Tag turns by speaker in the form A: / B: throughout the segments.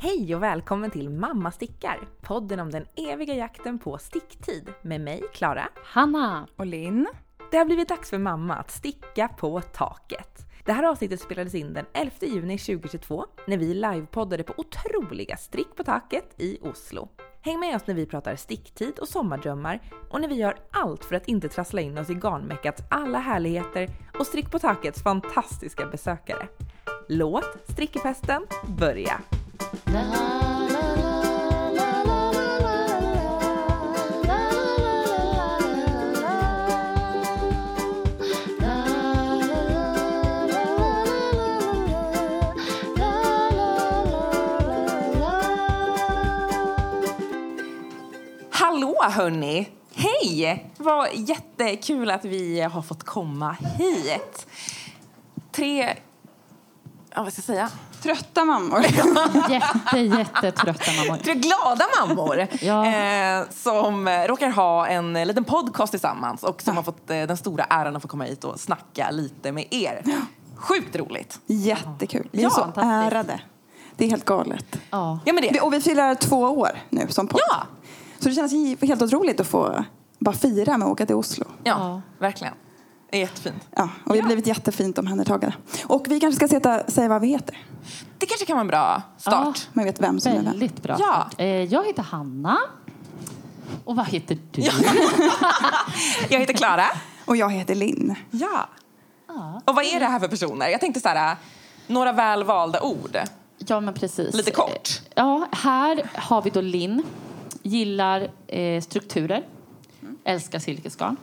A: Hej och välkommen till Mamma stickar! Podden om den eviga jakten på sticktid med mig, Klara.
B: Hanna!
C: Och Linn.
A: Det har blivit dags för mamma att sticka på taket. Det här avsnittet spelades in den 11 juni 2022 när vi livepoddade på otroliga Strick på taket i Oslo. Häng med oss när vi pratar sticktid och sommardrömmar och när vi gör allt för att inte trassla in oss i garnmeckats alla härligheter och Strick på takets fantastiska besökare. Låt strickefesten börja! Hallå hörni! Hej! Vad jättekul att vi har fått komma hit. Tre, ja vad ska jag säga?
C: Trötta mammor.
B: Jätte, jättetrötta mammor.
A: Tre glada mammor
B: Ja.
A: eh, som eh, råkar ha en eh, liten podcast tillsammans och som har fått eh, den stora äran att få komma hit och snacka lite med er. Sjukt roligt!
C: Jättekul. Vi är
A: Ja,
C: så
B: fantastiskt.
C: ärade. Det är helt galet.
B: Ja.
A: Ja men det,
C: Vi- Och vi firar två år nu som podd.
A: Ja.
C: Så det känns ju helt otroligt att få bara fira med att åka till Oslo.
A: ja verkligen. Det är jättefint.
C: Ja, och vi har blivit jättefint omhändertagna. Och vi kanske ska sätta, säga vad vi heter.
A: Det kanske kan vara en bra start.
C: Man vet vem som är vem.
B: Väldigt bra.
A: Ja.
B: start. Eh, Jag heter Hanna. Och vad heter du?
A: Jag heter Klara.
C: Och jag heter Linn.
A: Ja.
B: Ja.
A: Och vad är det här för personer? Jag tänkte så här, några välvalda ord.
B: Ja, men precis.
A: Lite kort.
B: Eh, Ja, här har vi då Linn. Gillar eh, strukturer.
A: Mm.
B: Älskar silkesgarn.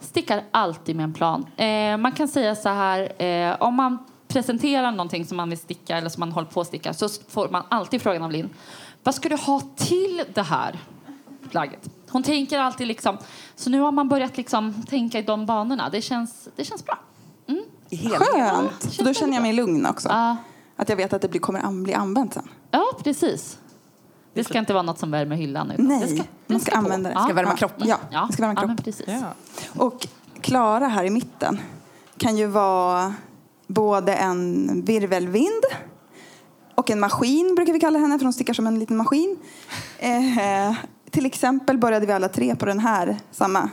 B: Stickar alltid med en plan. Eh, man kan säga så här, eh, om man presenterar någonting som man vill sticka eller som man håller på att sticka så får man alltid frågan av Linn. Vad ska du ha till det här plagget? Hon tänker alltid liksom, så nu har man börjat liksom tänka i de banorna. Det känns, det känns bra.
C: Skönt! Så då känner jag mig lugn också.
B: Ja.
C: Att jag vet att det blir, kommer an- bli använt sen.
B: Ja, precis. Det ska inte vara något som värmer hyllan. Utan
C: Nej,
B: det ska, det
C: man ska,
B: på.
C: använda det.
B: Ja.
A: Ska värma kroppen.
C: Ja,
B: Ja.
C: det ska värma
B: ja, men
C: kroppen.
B: precis.
C: Och Klara här i mitten kan ju vara både en virvelvind och en maskin brukar vi kalla henne för hon stickar som en liten maskin. Eh, till exempel började vi alla tre på den här samma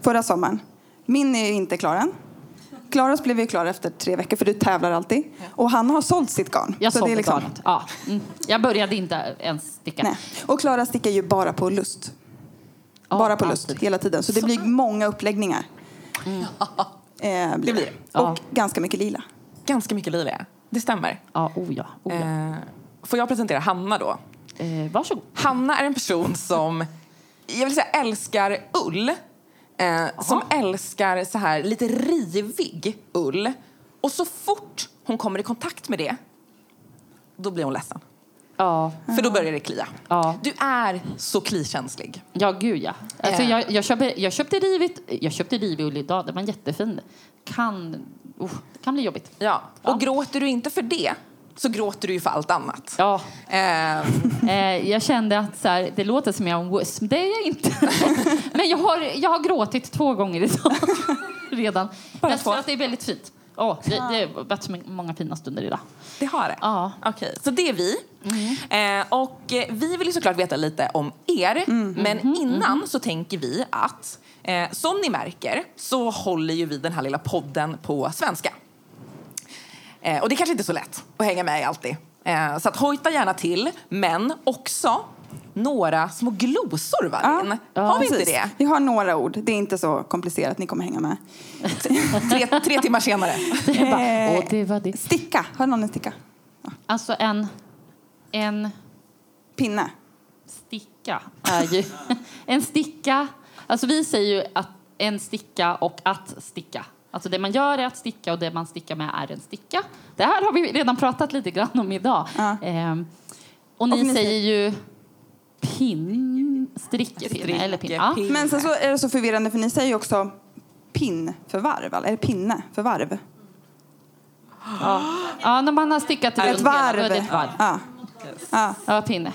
C: förra sommaren. Min är ju inte klar än. Klaras blev ju klar efter tre veckor för du tävlar alltid. Och han har sålt sitt garn.
B: Jag
C: Så det är
B: sålde
C: liksom-
B: garnet. Ja. Mm. Jag började inte ens sticka.
C: Nej. Och Klara stickar ju bara på lust.
B: Ja,
C: bara på
B: alltid.
C: lust hela tiden. Så det blir många uppläggningar.
B: Mm.
C: Eh, blir.
A: Det blir
C: Och
B: Ja.
C: ganska mycket lila.
A: ganska mycket lila. Det stämmer.
B: Ja, oh ja. Oh ja.
A: Eh, får jag presentera Hanna då?
B: Eh, varsågod.
A: Hanna är en person som, jag vill säga älskar ull. Eh, som älskar så här lite rivig ull. Och så fort hon kommer i kontakt med det, då blir hon ledsen.
B: Ja,
A: För då börjar det klia.
B: Ja.
A: Du är så klikänslig.
B: ja gud ja. Alltså,
A: Eh.
B: jag, jag, köpte, jag köpte rivigt. Jag köpte rivig ull idag. Den var jättefin. Kan, oh, det kan bli jobbigt.
A: Ja. Och gråter du inte för det, så gråter du ju för allt annat.
B: Ja,
A: Eh,
B: eh, jag kände att så här, det låter som jag är en wuss, men det är jag inte. men jag har, jag har gråtit två gånger idag redan.
A: Bara
B: jag
A: två?
B: tror att det är väldigt fint. Ja, det, det har varit så många fina stunder idag.
A: Det har det?
B: Ja.
A: Okej, så det är vi. Eh, och eh, vi vill ju såklart veta lite om er,
B: Mm.
A: men
B: Mm-hmm.
A: innan så tänker vi att eh, som ni märker så håller ju vi den här lilla podden på svenska. Eh, och det kanske inte är så lätt att hänga med i alltid. Eh, så att hojta gärna till, men också några små glosor, va, Linn? Har vi inte
C: Precis.
A: det?
C: Vi har några ord. Det är inte så komplicerat. Ni kommer hänga med.
A: Tre, tre timmar senare.
B: Jag bara,
C: Eh,
B: åh, det var det.
C: Sticka. Har någon en sticka?
B: Alltså en, en
C: Pinne.
B: sticka är ju... En sticka... Alltså vi säger ju att en sticka och att sticka. Alltså det man gör är att sticka och det man stickar med är en sticka. Det här har vi redan pratat lite grann om idag.
C: Ja.
B: Ehm, och, ni
C: Och ni
B: säger ju pinn... Strickepinne eller pinne. Ja.
A: Strickepinne.
C: Men sen så är det så förvirrande för ni säger ju också pinn för varv. Eller är det pinne för varv?
B: ja, när man har stickat till
C: Ett
B: runt hela,
C: varv.
B: då är det ett varv.
C: Ja. Ja.
B: Ja, pinne.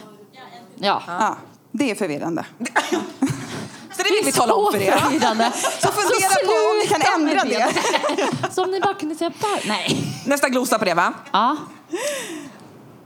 B: Ja.
C: Ja. Det är förvirrande.
A: Så det vill vi tala om för er.
B: Förvirrande.
C: Så fundera på om ni kan
B: sluta med
C: ändra det.
B: Så om ni bara kunde säga bara... Nej.
A: Nästa glosa på det, va?
B: Ja.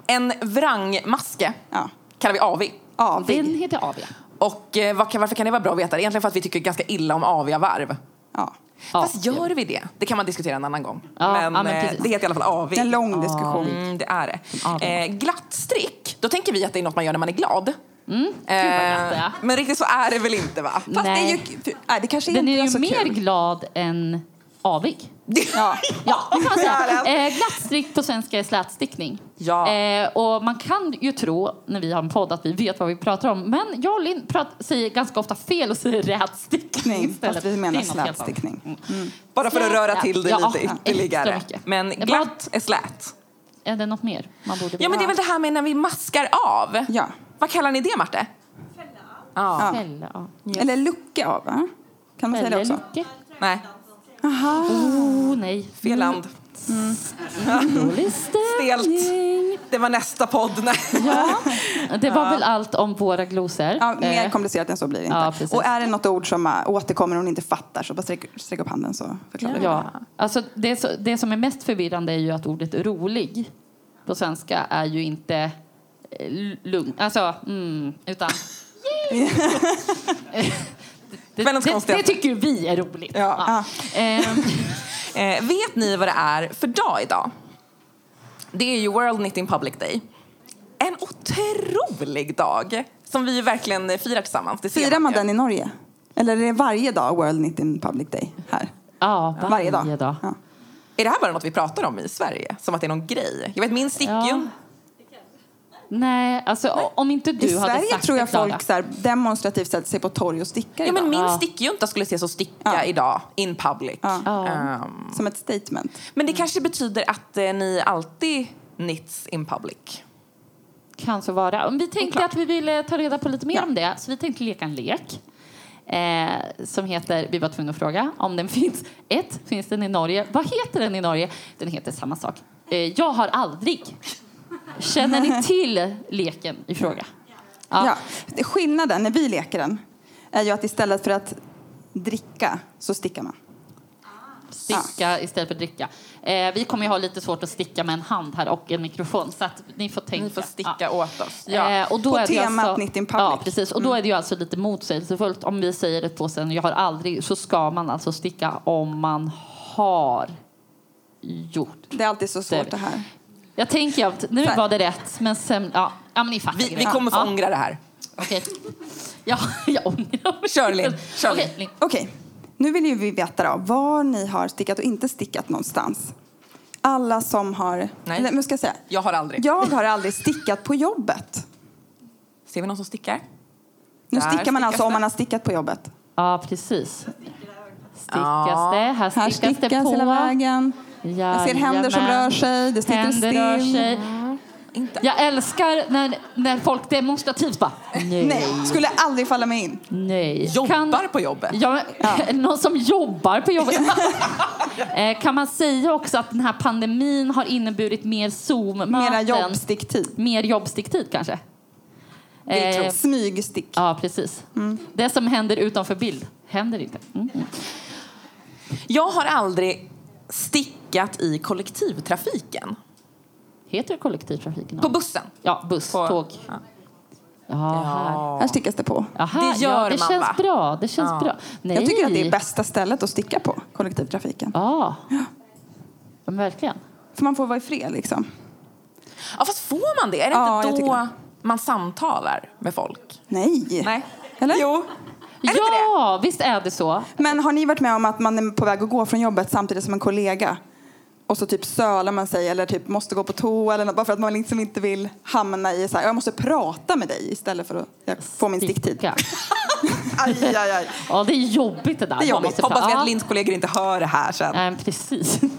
A: En vrangmaske
C: Ja.
A: kallar vi AV.
C: Avig.
B: Den heter Avia.
A: Och eh, vad kan- varför kan det vara bra att veta? Egentligen för att vi tycker ganska illa om aviga varv.
C: Ja.
A: Fast gör vi det? Det kan man diskutera en annan gång.
B: Ja,
A: men
B: ja, men
A: eh,
B: precis.
A: det heter i alla fall AV.
C: Det är en lång diskussion.
A: Mm, det är
B: AV.
A: det. Eh, glatt strick, då tänker vi att det är något man gör när man är glad.
B: Mm,
A: Eh,
B: vad glatt det är.
A: men riktigt så är det väl inte va?
C: Fast det är
B: Nej.
C: ju... Nej, det kanske
B: Den
C: inte
B: är
C: är
B: ju
C: så
B: mer
C: kul.
B: glad än avig.
C: Ja.
B: Ja, det kan man säga. Eh, glattstick på svenska är slätstickning.
A: Ja.
B: Eh, och man kan ju tro när vi har en podd att vi vet vad vi pratar om. Men jag och Linn prat- säger ganska ofta fel och säger rätstickning
C: Stickning,
B: istället.
C: fast vi menar
B: Det är något helt annat. Mm.
C: slätstickning. Mm.
A: Bara för att
B: Slät,
A: röra
B: ja.
A: till det
B: Ja,
A: lite
B: ja,
A: ytterligare.
B: extra mycket.
A: Men
B: Jag
A: glatt är slät.
B: Är det något mer man borde
A: Ja men det är väl det här med när vi maskar av.
C: Ja.
A: Vad kallar ni det Marte? Fälla av. Ja.
C: Ja.
B: Fälla, ja.
C: Eller lucka av, va? Kan man säga det också?
B: Fällelucke.
A: Nej,
B: Oh, nej.
A: fel land.
B: Dålig stämning.
A: Det var nästa podd. Nej.
B: Ja. Det var väl allt om våra glosor.
C: Ja, mer
B: Eh,
C: komplicerat än så blir det
B: ja,
C: inte.
B: precis.
C: och är det något ord som äh, återkommer och hon inte fattar så bara sträck, sträck upp handen så förklarar vi
B: Ja. Alltså det, så, det som är mest förvirrande är ju att ordet rolig på svenska är ju inte eh, lugn, alltså, mm, utan... det,
A: Väldigt
B: det,
A: konstiga.
B: det tycker vi är roligt.
A: Ja.
B: Ehm,
A: Eh, vet ni vad det är för dag idag? Det är ju World Knitting Public Day. En otrolig dag som vi verkligen firar tillsammans. Det ser
C: det. Firar man
A: ju.
C: den i Norge? Eller är det varje dag World Knitting Public Day här?
B: ja,
C: Varje dag? Ja.
A: Är det här bara något vi pratar om i Sverige? Som att det är någon grej? Jag vet, min stick ju.
B: Ja. Nej, alltså o- om inte du
C: I
B: hade
C: Sverige
B: sagt
C: tror jag
B: det, Klara.
C: folk så här, demonstrativt sätter sig på torg och stickar
A: Ja, men
C: idag.
A: min
B: Ja.
A: stickjunta skulle ses och sticka
C: Ja.
A: idag, in public.
C: Ja.
B: Ja.
A: Ehm,
C: Som ett statement.
A: men det kanske betyder att eh, ni alltid knits in public.
B: Kan så vara. Vi tänkte
A: Oklart.
B: att vi ville ta reda på lite mer
C: Ja.
B: om det, så vi tänkte leka en lek. Eh, som heter, vi var tvungna att fråga om den finns. Ett, finns den i Norge? Vad heter den i Norge? Den heter samma sak. Eh, jag har aldrig. Känner ni till leken i fråga?
C: Ja. Skillnaden när vi leker den är ju att istället för att dricka så stickar man.
B: Sticka istället för dricka. Eh, vi kommer ju ha lite svårt att sticka med en hand här och en mikrofon, så att ni får tänka.
A: Ni får sticka
B: Ja.
A: åt oss.
B: Eh, och då
C: På
B: är det ju
C: temat
B: alltså,
C: Knit in Public.
B: Ja, precis. Och då är det ju alltså lite motsägelsefullt om vi säger ett påstående, jag har aldrig, så ska man alltså sticka om man har gjort.
C: Det är alltid så
B: Det är
C: svårt
B: vi.
C: det här.
B: Jag tänker att nu
C: Så här.
B: var det rätt, men sen, ja, ja men ni fattar
A: Vi, vi
B: grejen.
A: kommer få
B: ja,
A: ångra det här.
B: okej. Ja, jag ångrar mig.
A: Kör, Linn. Kör,
B: Okej,
A: Linn.
B: Linn.
C: Okej, nu vill ju vi veta då, var ni har stickat och inte stickat någonstans. Alla som har...
A: Nej.
C: Eller, men ska jag säga?
A: Jag har aldrig.
C: Jag har aldrig stickat på jobbet.
A: Ser vi någon som stickar?
C: Nu
A: Där
C: stickar man alltså
A: stickas
C: om
A: det.
C: man har stickat på jobbet.
B: Ja, precis. Stickas
A: Ja.
B: det, här
C: Här
B: stickas,
C: stickas
B: det på.
C: hela vägen.
B: Jajamän.
C: Jag ser händer som rör sig, det sitter
B: Händer
C: still.
B: rör sig.
A: Inte.
B: Jag älskar när, när folk demonstrativt bara nej, nej.
C: Nej, skulle aldrig falla mig in.
A: Jobbar på jobbet?
B: Ja, men- Någon som jobbar på jobbet. Eh, kan man säga också att den här pandemin har inneburit mer Zoom-möten?
C: Mera jobbsticktid.
B: Mer jobbsticktid kanske? Eh,
C: Smygstick.
B: ja, precis. Det som händer utanför bild händer inte. Mm. mm.
A: Jag har aldrig stickat i kollektivtrafiken.
B: Heter det kollektivtrafiken?
A: På bussen.
B: ja, buss,
A: På,
B: tåg.
A: Ja.
B: Ja, här.
C: Här stickas det på.
B: Ja, här.
A: Det gör
B: ja, det
A: man,
B: känns
A: va?
B: bra. Det känns
A: Ja.
B: bra. Nej.
C: Jag tycker att det är bästa stället att sticka på, kollektivtrafiken.
B: Ja, men verkligen.
C: För man får vara i fred liksom.
A: ja, fast får man det? Är det
C: Ja, jag
A: inte
C: tycker
A: då
C: det.
A: man samtalar med folk?
C: Nej.
A: Nej.
C: Eller?
A: Jo. Är det inte det?
B: Ja, visst är det så.
C: Men har ni varit med om att man är på väg att gå från jobbet samtidigt som en kollega och så typ sölar man sig eller typ måste gå på toa eller något, bara för att man liksom inte vill hamna i så här, jag måste prata med dig istället för att jag får min sticktid.
B: Sticka.
C: Aj, aj, aj.
B: Ja, det är jobbigt det där.
C: är
B: Man
C: jobbigt.
B: måste få-
A: Hoppas vi
B: ja.
A: att Linds kollegor inte hör det här sen.
B: Nej, men precis.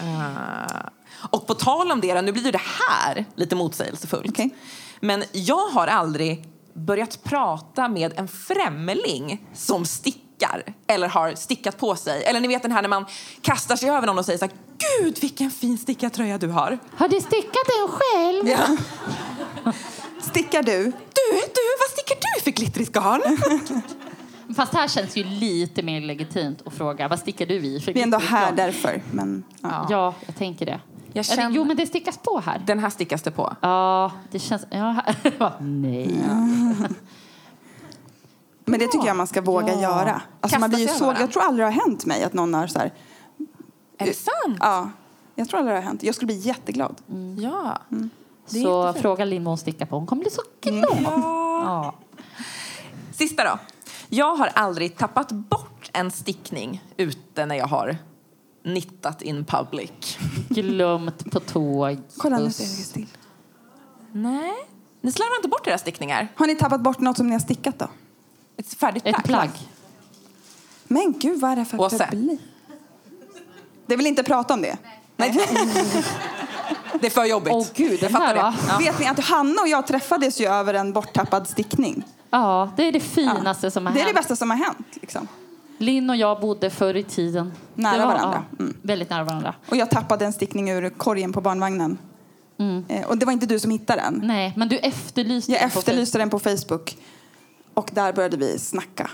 A: Eh, Och på tal om det, då, nu blir ju det här lite motsägelsefullt.
C: Okej.
A: Men jag har aldrig börjat prata med en främling som stickar eller har stickat på sig. Eller ni vet den här när man kastar sig över någon och säger så här, Gud vilken fin stickad tröja du har.
B: Har du stickat den själv?
A: Ja.
C: Stickar du?
A: Du, du, vad stickar du för glittrigt garn?
B: Fast här känns ju lite mer legitimt att fråga vad stickar du i? För
C: Vi är ändå här
B: Ja,
C: därför. Men, ja.
B: ja jag tänker det.
A: Jag
B: Eller,
A: känner,
B: Jo, men det stickas på här.
A: Den här stickas det på.
B: Ja, det känns... Ja, här- Va? Nej.
C: Men det tycker jag man ska våga
B: Ja.
C: göra. Alltså
A: Kasta
C: man blir ju
A: sig
C: så,
A: över den.
C: jag tror aldrig det har hänt mig att någon har så här,
A: Är det sant?
C: ja, jag tror aldrig det har hänt. Jag skulle bli jätteglad.
A: Ja. Det är
B: Så
A: jättefint.
B: fråga Linn vad hon stickar på. Hon kommer bli så glad. Ja.
A: Sista då. Jag har aldrig tappat bort en stickning ute när jag har nittat in public.
B: Glömt på tåg.
C: Kolla nu
B: buss.
C: ser det still.
A: Nej. Ni slarvar inte bort era stickningar?
C: Har ni tappat bort något som ni har stickat då?
A: Ett färdigt
B: Ett plagg.
C: Men gud, vad är det för
A: Åse.
C: publik? Det vill inte prata om det.
A: Det är för jobbigt.
B: Åh, gud,
A: jag
B: den här,
A: fattar
B: va?
A: det. Ja.
C: Vet ni att Hanna och jag träffades ju över en borttappad stickning.
B: Ja, det är det finaste som har
C: Det är det
B: hänt.
C: bästa som har hänt. Liksom.
B: Linn och jag bodde förr i tiden.
C: Nära
B: Det
C: varandra. Mm.
B: Ja, Väldigt nära varandra.
C: Och jag tappade en stickning ur korgen på barnvagnen. Eh, Och det var inte du som hittade den.
B: Nej, men du efterlyste
C: Jag
B: den Mm. på Facebook.
C: efterlyste den på Facebook. Och där började vi snacka.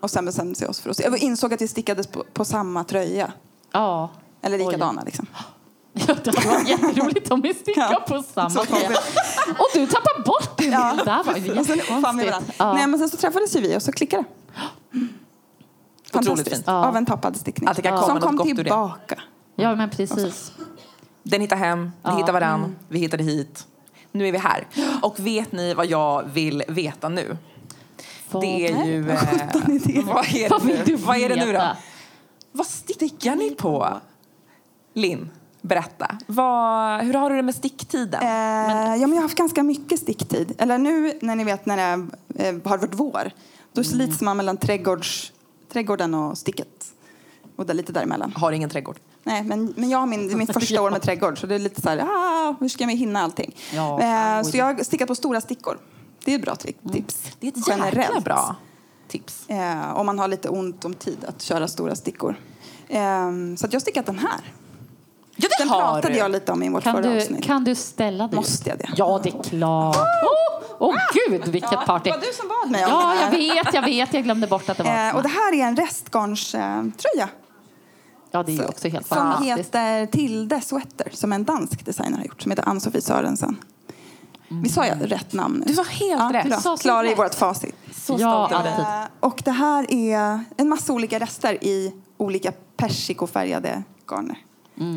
C: Och sen bestämde vi oss för oss. Jag insåg att vi stickades på, på samma tröja.
B: Ja.
C: Eller
B: Oj.
C: likadana liksom.
B: Ja, det hade varit jätteroligt om vi stickade
C: Ja.
B: på
C: Så
B: samma tröja.
C: konstigt.
B: Och du tappar bort din
C: Ja.
B: bild. Det här var ju
C: Och sen uppfann vi varandra.
B: jättekonstigt.
C: Nej
B: Ja.
C: men sen så träffades ju vi och så klickade det. Fantastiskt.
A: fint.
B: Ja.
C: Av en tappad stickning.
A: Att det kan komma
C: Som
A: något
C: kom
A: gott ur det.
C: tillbaka.
B: ja, men
C: Alltså,
B: precis.
A: Den hittar hem, ni
B: Ja. mm.
A: hittar varann, vi hittade hit. Nu är vi här. Och vet ni vad jag vill veta nu?
B: Vad-
A: Det är ju... eh,
C: Sjutton idéer.
A: vad är
B: Vad vill
A: det
B: du
A: nu? Vad är det nu då?
B: veta?
A: Vad stickar ni på? Linn, berätta. Vad, hur har du det med sticktiden?
C: Eh, ja, men jag har haft ganska mycket sticktid. Eller nu när ni vet när det eh, har varit vår.
A: Mm.
C: Då slits man mellan trädgårds, trädgården och sticket. Och där, lite däremellan.
A: Har ingen trädgård.
C: Nej, men, men jag har min, mitt första år med trädgård så det är lite så här, ah, hur ska jag hinna allting?
B: Ja,
C: eh, så jag har stickat på stora stickor. Det är ett bra tri- tips.
A: Mm. Det är ett jäkla bra tips.
C: Eh, om man har lite ont om tid att köra stora stickor. Eh, så att jag har stickat den här.
A: Ja, det
C: Den
A: har
C: pratade
A: du!
C: jag lite om i vårt
B: Kan
C: förra
B: du,
C: avsnitt.
B: kan du ställa dig?
C: Måste jag det?
B: Ja, det är klart. Åh, oh, gud, vilket party.
C: Det var du som bad mig om
B: Ja,
C: den här.
B: jag vet, jag vet. Jag glömde bort att det var
C: Eh, och det här är en restgarnströja eh, tröja
B: Ja, det är ju också helt
C: som
B: fantastiskt.
C: heter Tilde Sweater som en dansk designer har gjort som heter Ann-Sofie Sörensen. Vi sa jag rätt namn nu?
A: Du var helt
C: ja,
A: rätt.
C: bra.
B: Så
C: Klara i
B: rätt.
C: vårt facit.
A: Så
B: Ja,
A: stolt över dig.
B: alltid.
C: Eh, och det här är en massa olika rester i olika persikofärgade garner.
B: Mm.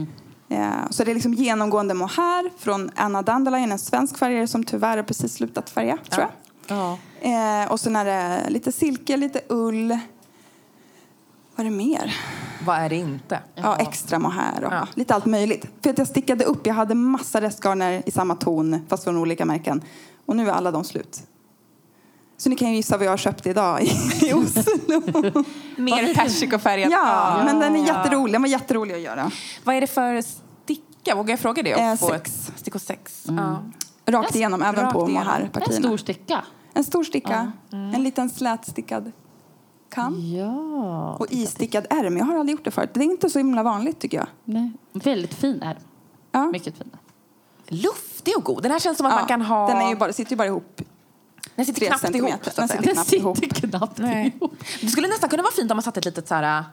C: Eh, så det är liksom genomgående mohair från Anna Dandelion, en svensk färgare som tyvärr har precis slutat färga, tror jag.
B: Ja.
C: Eh, och sen är det lite silke, lite ull. Vad är det mer?
A: Vad är det inte?
C: Ja, extra mohair och
A: Ja.
C: lite allt möjligt. För att jag stickade upp, jag hade massa restgarner i samma ton fast från olika märken. Och nu är alla de slut. Så ni kan ju gissa vad jag har köpt idag i i Oslo.
A: Mer persikofärgat.
C: ja, men den är jätterolig. Den var jätterolig att göra.
A: Vad är det för sticka? Vågar jag fråga det?
C: Eh,
A: Och få
C: sex.
A: ett Stickor sex. Ja.
C: Rakt igenom, även
A: rakt
C: på
A: igenom.
B: En
C: mohairpartierna.
B: stor sticka.
C: En stor sticka, en liten slätstickad kam
B: Ja.
C: och istickad ärm. Jag har aldrig gjort det förut. Det är inte så himla vanligt tycker jag.
B: Nej. Väldigt fin är den.
C: Ja.
B: Mycket fin.
A: Luftig och god. Den här känns som att
C: Ja,
A: man kan ha...
C: Den är ju bara, sitter ju bara ihop.
A: den sitter
C: tre
A: knappt ihop.
C: centimeter.
A: Så att
C: Den
A: säga.
C: sitter
B: Den
C: knappt ihop.
B: sitter knappt
A: Nej.
B: ihop.
A: Det skulle nästan kunna vara fint om man satte ett litet så här...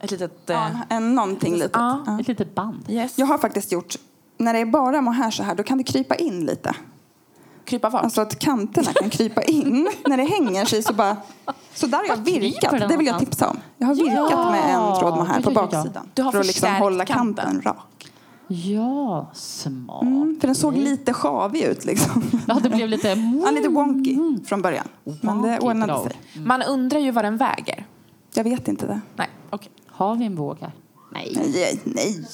A: Ett litet...
C: Ja,
A: eh,
C: en någonting litet.
A: Ja.
B: Ett litet band.
A: Yes.
C: Jag har faktiskt gjort, när det är bara mohair så här, då kan det krypa in lite.
A: Krypa var.
C: Alltså att kanterna kan krypa in. när det hänger sig så bara... Så där har jag
B: Var kryper den
C: virkat, det vill jag
B: någonstans?
C: tipsa om. Jag har virkat
B: Ja!
C: med en tråd mohair på
B: Ja, ja, ja.
C: baksidan.
A: Du har
C: för att liksom
A: förstärkt
C: hålla
A: kanten.
C: kanten, rak.
B: Ja, smart.
C: Mm, för den såg lite sjavig ut liksom.
B: Ja, det blev lite...
C: Ja, lite wonky från början. Men det
B: Wonky
C: ordnade
B: drag.
C: sig.
A: Mm. Man undrar ju vad den väger.
C: Jag vet inte det.
A: Nej, okej.
B: Har vi en våg här? Nej. Nej,
C: Nej, nej.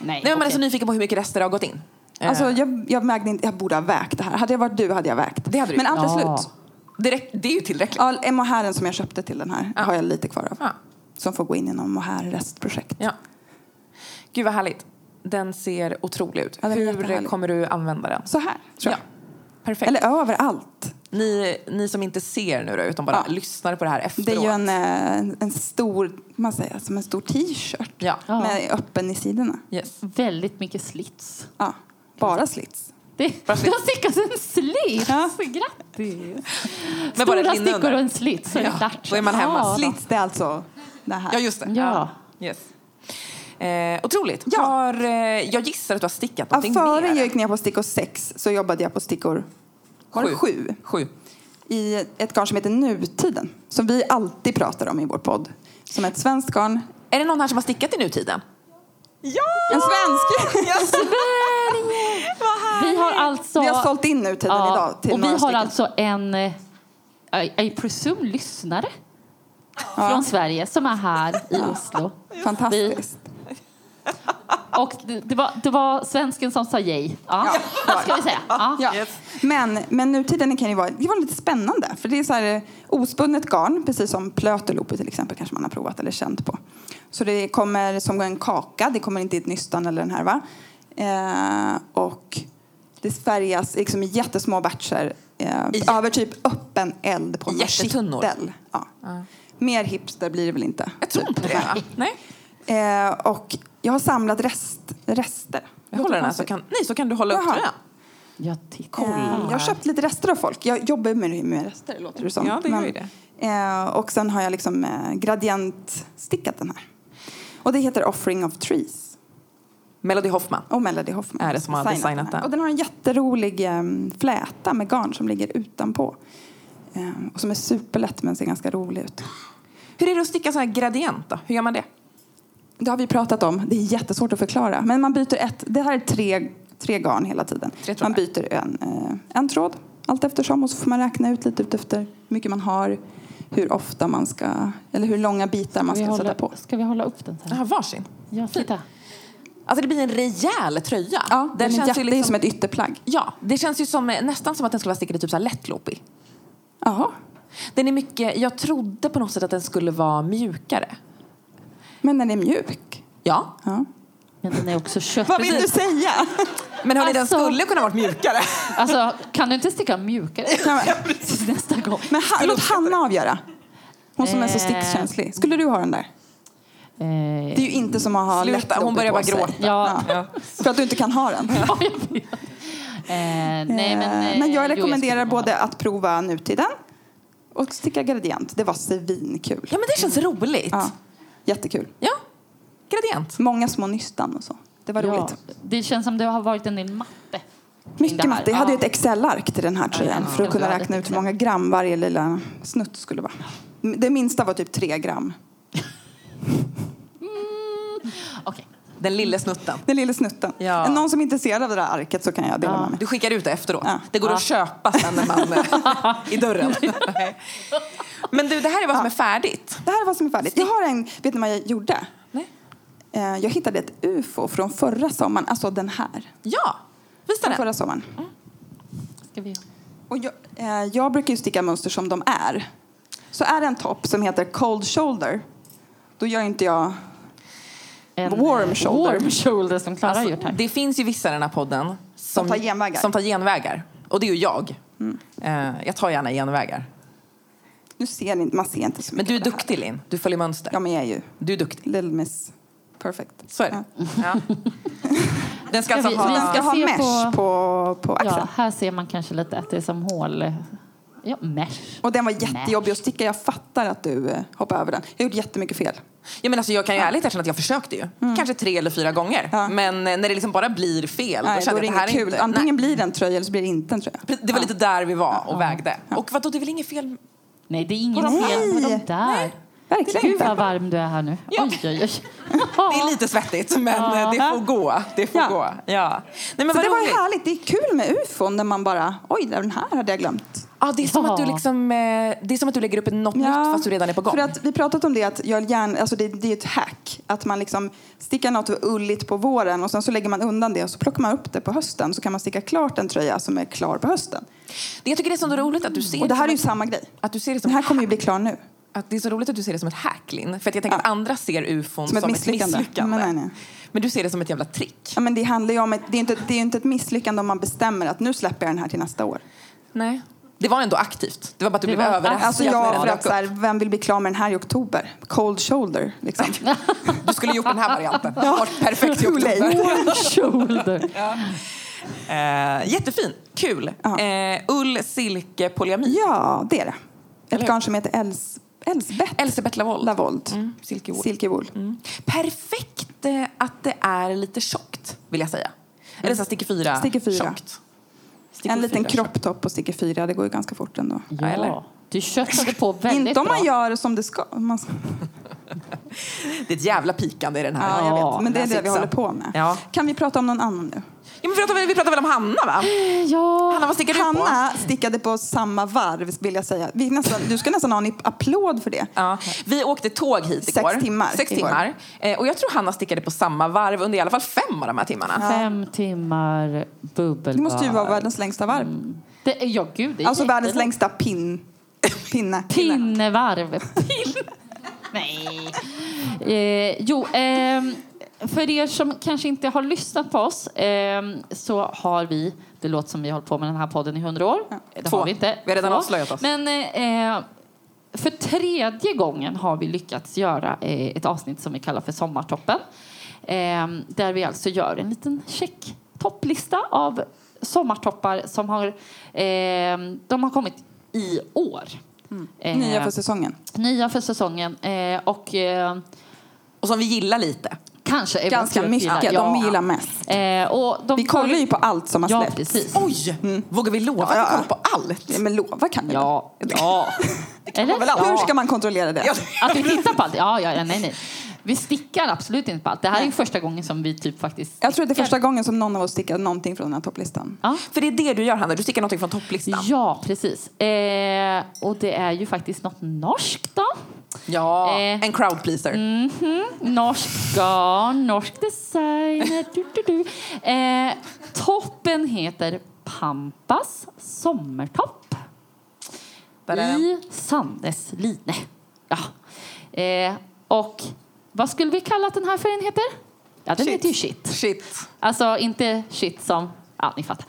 A: Nej, men man är
B: okej.
A: så nyfiken på hur mycket rester det har gått in. Eh,
C: Alltså jag, jag vägde inte, jag borde ha vägt det här. Hade jag varit du hade jag vägt.
A: Det hade du
C: Men allt är
B: gjort. Ja.
C: slut.
A: det, räck- det är ju tillräckligt.
C: Ja, en mohairen som jag köpte till den här har jag lite kvar av.
A: Ja.
C: Som får gå in i någon mohair-restprojekt.
A: Ja. Gud vad härligt. Den ser otrolig ut.
C: Ja, den är
A: Hur
C: jättehärlig.
A: kommer du använda den?
C: Så här, tror jag.
A: Perfekt.
C: Eller överallt.
A: Ni, ni som inte ser nu då, utan bara
C: Ja.
A: lyssnar på det här efteråt.
C: Det är ju en, eh, en stor, man säger, som en stor t-shirt.
A: Ja.
B: Ja.
C: Med öppen i sidorna.
A: Yes.
B: Väldigt mycket slits.
C: Ja. Bara slits.
B: Det, det har stickat en slits!
C: Ja.
B: Grattis!
A: Men bara ett
B: Stora
A: linne
B: stickor
A: under.
B: och en slits, så är det
A: Ja,
B: klart.
A: då är man hemma.
B: Ja.
C: Slits, det är alltså det här.
A: Ja, just det.
B: Ja.
A: Yes. Eh, otroligt.
C: Ja.
A: Har, eh, jag gissar att du har stickat
C: Ja,
A: någonting
C: före
A: mer.
C: jag gick ner på stickor sex så jobbade jag på stickor var det sju.
A: Sju.
C: i ett garn som heter Nutiden, som vi alltid pratar om i vår podd. Som är ett svenskt garn.
A: Är det någon här som har stickat i nutiden? Ja!
C: En svensk!
B: Vi har alltså...
C: Vi har sålt in Nutiden
B: Ja,
C: idag till
B: Och vi
C: några
B: har
C: stycken.
B: alltså en, eh, I, I presume, lyssnare från Sverige som är här i Oslo.
C: Fantastiskt.
B: Och det, det, var, det var svensken som sa yay. Ja,
C: Ja, det var
B: ska vi säga. Ja.
C: Ja. Men, men nutiden kan ju vara, det var lite spännande. För det är så här eh, ospunnet garn, precis som plöt och loopy till exempel kanske man har provat eller känt på. Så det kommer som en kaka, det kommer inte i ett nystan eller en härva. Eh, och det färgas liksom i jättesmå batcher eh,
A: I-
C: över typ öppen eld på en
A: Jättetunnor.
C: kittel. Ja. Mer hipster blir det väl inte?
A: Jag tror inte det. va? Nej.
C: Eh, och jag har samlat rest, rester.
A: Jag håller den här så kan, nej, så kan du hålla upp
C: Jaha.
A: tröjan.
B: Jag tittar.
C: Eh, Jag har köpt lite rester av folk. Jag jobbar med, med rester, låter det som.
A: Ja, det gör ju
C: Eh, och sen har jag liksom eh, gradientstickat den här. Och det heter Offering of Trees.
A: Melody Hoffman.
C: Och Melody Hoffman
A: Är det som har designat den?
C: Och den har en jätterolig eh, fläta med garn som ligger utanpå. Eh, och som är superlätt men ser ganska rolig ut.
A: Hur är det att sticka sån här gradient då? Hur gör man det?
C: Mm. Det har vi pratat om. Det är jättesvårt att förklara. Men man byter ett. Det här är tre, tre garn hela tiden.
A: Tre trådar.
C: man byter en, eh, en tråd allt eftersom och så får man räkna ut lite ut efter hur mycket man har, hur ofta man ska, eller hur långa bitar man
B: Vi
C: ska
B: håller,
C: sätta på.
B: ska vi hålla upp den så
A: Jag
B: här?
A: har varsin.
B: Ja, titta.
A: Alltså det blir en rejäl tröja.
C: Ja, den är jätte,
A: ju
C: Det är
A: liksom-
C: som ett ytterplagg.
A: Ja, det känns ju som, eh, nästan som att den skulle vara stickad i typ så här lättloopy.
C: Jaha.
A: Den är mycket, jag trodde på något sätt att den skulle vara mjukare.
C: Men den är mjuk.
A: Ja,
C: Ja.
B: Men den är också kött.
C: Vad vill du säga?
A: men hörni
B: Alltså-
A: den skulle kunna varit mjukare.
B: Alltså, kan du inte sticka mjukare
C: Ja, men-
B: till nästa gång?
C: Men ha, låt Hanna avgöra. Hon som är så
B: Eh.
C: stickkänslig. Skulle du ha den där?
B: Eh,
C: Det är ju inte som att ha
A: Sluta,
C: lätt
A: hon börjar bara gråta.
B: Ja.
C: För att du inte kan ha den.
B: eh, nej, men, eh,
C: Men, jag
B: jo,
C: rekommenderar
B: skulle-
C: både att prova nutiden och sticka gradient. Det var svinkul.
A: Ja men det känns roligt.
C: Ja, jättekul.
A: Ja, gradient.
C: Många små nystan och så. Det var roligt.
B: Det känns som det har varit en del matte. det
C: Mycket
B: här.
C: matte. Jag hade ju
B: Ja.
C: ett Excel-ark till den här tröjan
B: ja,
C: för att
B: ja.
C: kunna
B: Ja,
C: räkna
B: ett
C: ut hur många gram varje lilla snutt skulle vara. Det minsta var typ tre gram.
B: Okej.
A: Den lilla snutten.
C: Den lilla snutten.
A: Ja.
C: Är Någon som är intresserad av det där arket så kan jag dela med mig.
A: Du skickar ut det efteråt.
C: Ja.
A: Det går att köpa sen när man i dörren. Nej. men du, det här är vad som är färdigt.
C: Det här är vad som är färdigt. Jag har en, vet ni vad jag gjorde?
A: Nej.
C: Eh, Jag hittade ett UFO från förra sommaren, alltså den här.
A: Ja, visa
C: Från
A: den.
C: förra sommaren.
B: Ska vi...
C: Och jag, eh, jag brukar ju sticka mönster som de är. Så är det en topp som heter cold shoulder, då gör inte jag...
B: En,
C: Warm
B: eh,
C: shoulder.
B: Warm shoulder som Klara har gjort
A: Alltså,
B: här.
A: det finns ju vissa i den här podden som,
C: tar genvägar. Mm.
A: som tar genvägar. Och det är ju jag. Eh, jag tar gärna genvägar.
C: Nu ser ni, inte- man ser inte så
A: Men
C: mycket
A: du är
C: av det här.
A: duktig Linn, du följer mönster.
C: Ja, men jag är ju
A: Du är duktig,
C: little miss perfect.
A: så är det. Ja. Den ska
B: Ska
A: alltså
B: vi-
C: Den
B: vi
A: ha...
C: ska
B: ska
C: ha
B: se
C: mesh på,
B: på-
C: på, axeln.
B: Ja, här ser man kanske lite att det är som hål... Ja, mesh.
C: Och den var jättejobbig att sticka. Jag fattar att du eh, hoppade över den. Jag gjorde jättemycket fel.
A: Ja, men alltså, jag kan ju ärligt erkänna att jag försökte ju. Kanske tre eller fyra gånger.
C: Mm. Ja.
A: Men eh, när det liksom bara blir fel,
C: Nej,
A: då
C: då
A: känner
C: är det
A: jag att det här
C: inget
A: är
C: kul.
A: inte...
C: Antingen
A: Nej.
C: blir det en tröja eller så blir det inte en tröja.
A: Precis, Det var lite där vi var och vägde. Och vadå, det är väl inget fel?
B: Nej, det är inget
C: Nej.
B: fel på de där.
C: Verkligen
B: Gud vad
C: inte.
B: varm du är här nu.
A: Ja.
B: Oj, oj, oj.
A: Det är lite svettigt, men eh, det får gå. Det får
C: Ja.
A: gå. Ja. Nej, men
C: Så
A: vad
C: det var
A: roligt.
C: härligt. Det är kul med ufon när man bara, oj, den här hade jag glömt.
A: Ja, det är som
B: Ja.
A: att du liksom, eh, det är som att du lägger upp något nytt fast du redan är på gång.
C: För att vi pratat om det att jag gärna, alltså det, det är ett hack. Att man liksom stickar något ulligt på våren och sen så lägger man undan det och så plockar man upp det på hösten så kan man sticka klart en tröja som är klar på hösten.
A: det, jag tycker det är så roligt att du ser
C: Och det här är
A: som
C: ju samma grej.
A: ett- att du ser det som
C: Den här kommer ju bli klar nu.
A: Att det är så roligt att du ser det som ett hack, Linn. För att jag tänker att andra ser ufon som,
C: Som ett misslyckande.
A: misslyckande.
C: Men nej, nej.
A: Men du ser det som ett jävla trick.
C: Ja, men det handlar ju om ett, det är ju inte, det är ju inte ett misslyckande om man bestämmer att nu släpper jag den här till nästa år.
A: Nej. Det var ändå aktivt. Det var bara att du
B: Det
A: blev
B: var-
A: överraskad
C: Alltså
A: när
C: jag,
A: den
C: för
A: dök
C: att så här, vem vill bli klar med den här i oktober? Cold shoulder liksom.
A: upp. Du skulle gjort den här varianten. Det var perfekt i
C: Too late.
A: oktober.
B: Warm shoulder.
A: Eh, jättefin. Kul.
C: Ja.
A: Eh, ull, silke, polyamid.
C: Ja, det är det.
A: Eller
C: Ett
A: hur?
C: garn som heter Els, Elsbeth
A: Elisabeth Lavold.
C: Lavold.
A: Mm, silkewool.
C: Silkewool.
A: Mm. Perfekt eh, att det är lite tjockt, vill jag säga. Eller så här, sticker fyra,
C: Sticker fyra.
A: tjockt. Sticker
C: En liten
A: fyra tjockt.
C: kropptopp och sticker fyra, det går ju ganska fort ändå.
B: Ja,
A: eller?
B: Du köttade på väldigt
C: Inte om
B: bra.
C: man gör som det ska. Man ska.
A: Det är ett jävla pikande i den här.
C: Ja, jag vet. Men det är det vi
A: näsitsen.
C: håller på med.
A: Ja.
C: Kan vi prata om någon annan nu?
A: Ja, men pratar, vi vi pratar väl om Hanna, va?
B: Ja.
A: Hanna, vad stickar du på?
C: Hanna stickade på samma varv, vill jag säga. Vi nästan, du ska nästan ha en applåd för det.
A: Ja. Vi åkte tåg hit
C: Sex
A: igår.
C: timmar.
A: Sex
C: Igår.
A: timmar. Eh, och jag tror Hanna stickade på samma varv under i alla fall fem av de här timmarna.
B: Fem timmar bubbelbad.
C: Det måste ju vara världens längsta varv.
B: Det är, ja, gud. Det är
C: Alltså världens
B: jättelångt.
C: längsta pin, pinne.
B: Pinnevarv. Pin- Nej. Eh, jo, ehm, för er som kanske inte har lyssnat på oss ehm, så har vi, det låter som vi har hållit på med den här podden i hundra år. Det
A: Två.
B: har vi inte.
A: Vi har redan
B: Två.
A: avslöjat oss.
B: Men eh, eh, för tredje gången har vi lyckats göra eh, ett avsnitt som vi kallar för Sommartoppen. Eh, där vi alltså gör en liten check topplista av sommartoppar som har, eh, de har kommit i år. Eh,
C: Mm. Nya för säsongen.
B: nya för säsongen. Eh, och eh,
A: Och som vi gillar lite.
B: kanske
C: Ganska
B: eventuellt
C: mycket.
B: gillar-
C: De vi gillar mest.
B: Eh, och de
C: Vi kollar ju på allt som har
B: Ja,
C: släppts.
B: precis.
A: Oj! Mm. Vågar vi lova
C: Ja,
A: att vi
C: ja.
A: kollar på allt?
C: Ja, Men lova kan vi väl?
B: Ja. ja. Eller?
A: väl alltid.
C: Hur ska man kontrollera det?
A: Ja.
B: Att vi tittar på allt? Ja, ja, ja, nej, nej. Vi stickar absolut inte på allt. Det här är ju första gången som vi typ faktiskt...
C: Jag tror det är första gången som någon av oss stickar någonting från den här topplistan.
B: Ja,
A: För det är det du gör, Hanna. Du stickar någonting från topplistan.
B: ja precis. Eh, och det är ju faktiskt något norskt då.
A: Ja,
B: Eh.
A: en crowd pleaser.
C: Mm.
B: Norsk garn, norsk designer. Du, du, du. Eh, toppen heter Pampas sommartopp.
A: Där är den.
B: I Sandes line. Ja. Eh, och vad skulle vi kalla att den här färgen heter? Ja, den
C: Shit.
B: heter ju shit.
A: Shit.
B: Alltså inte shit som... Ja, ni fattar.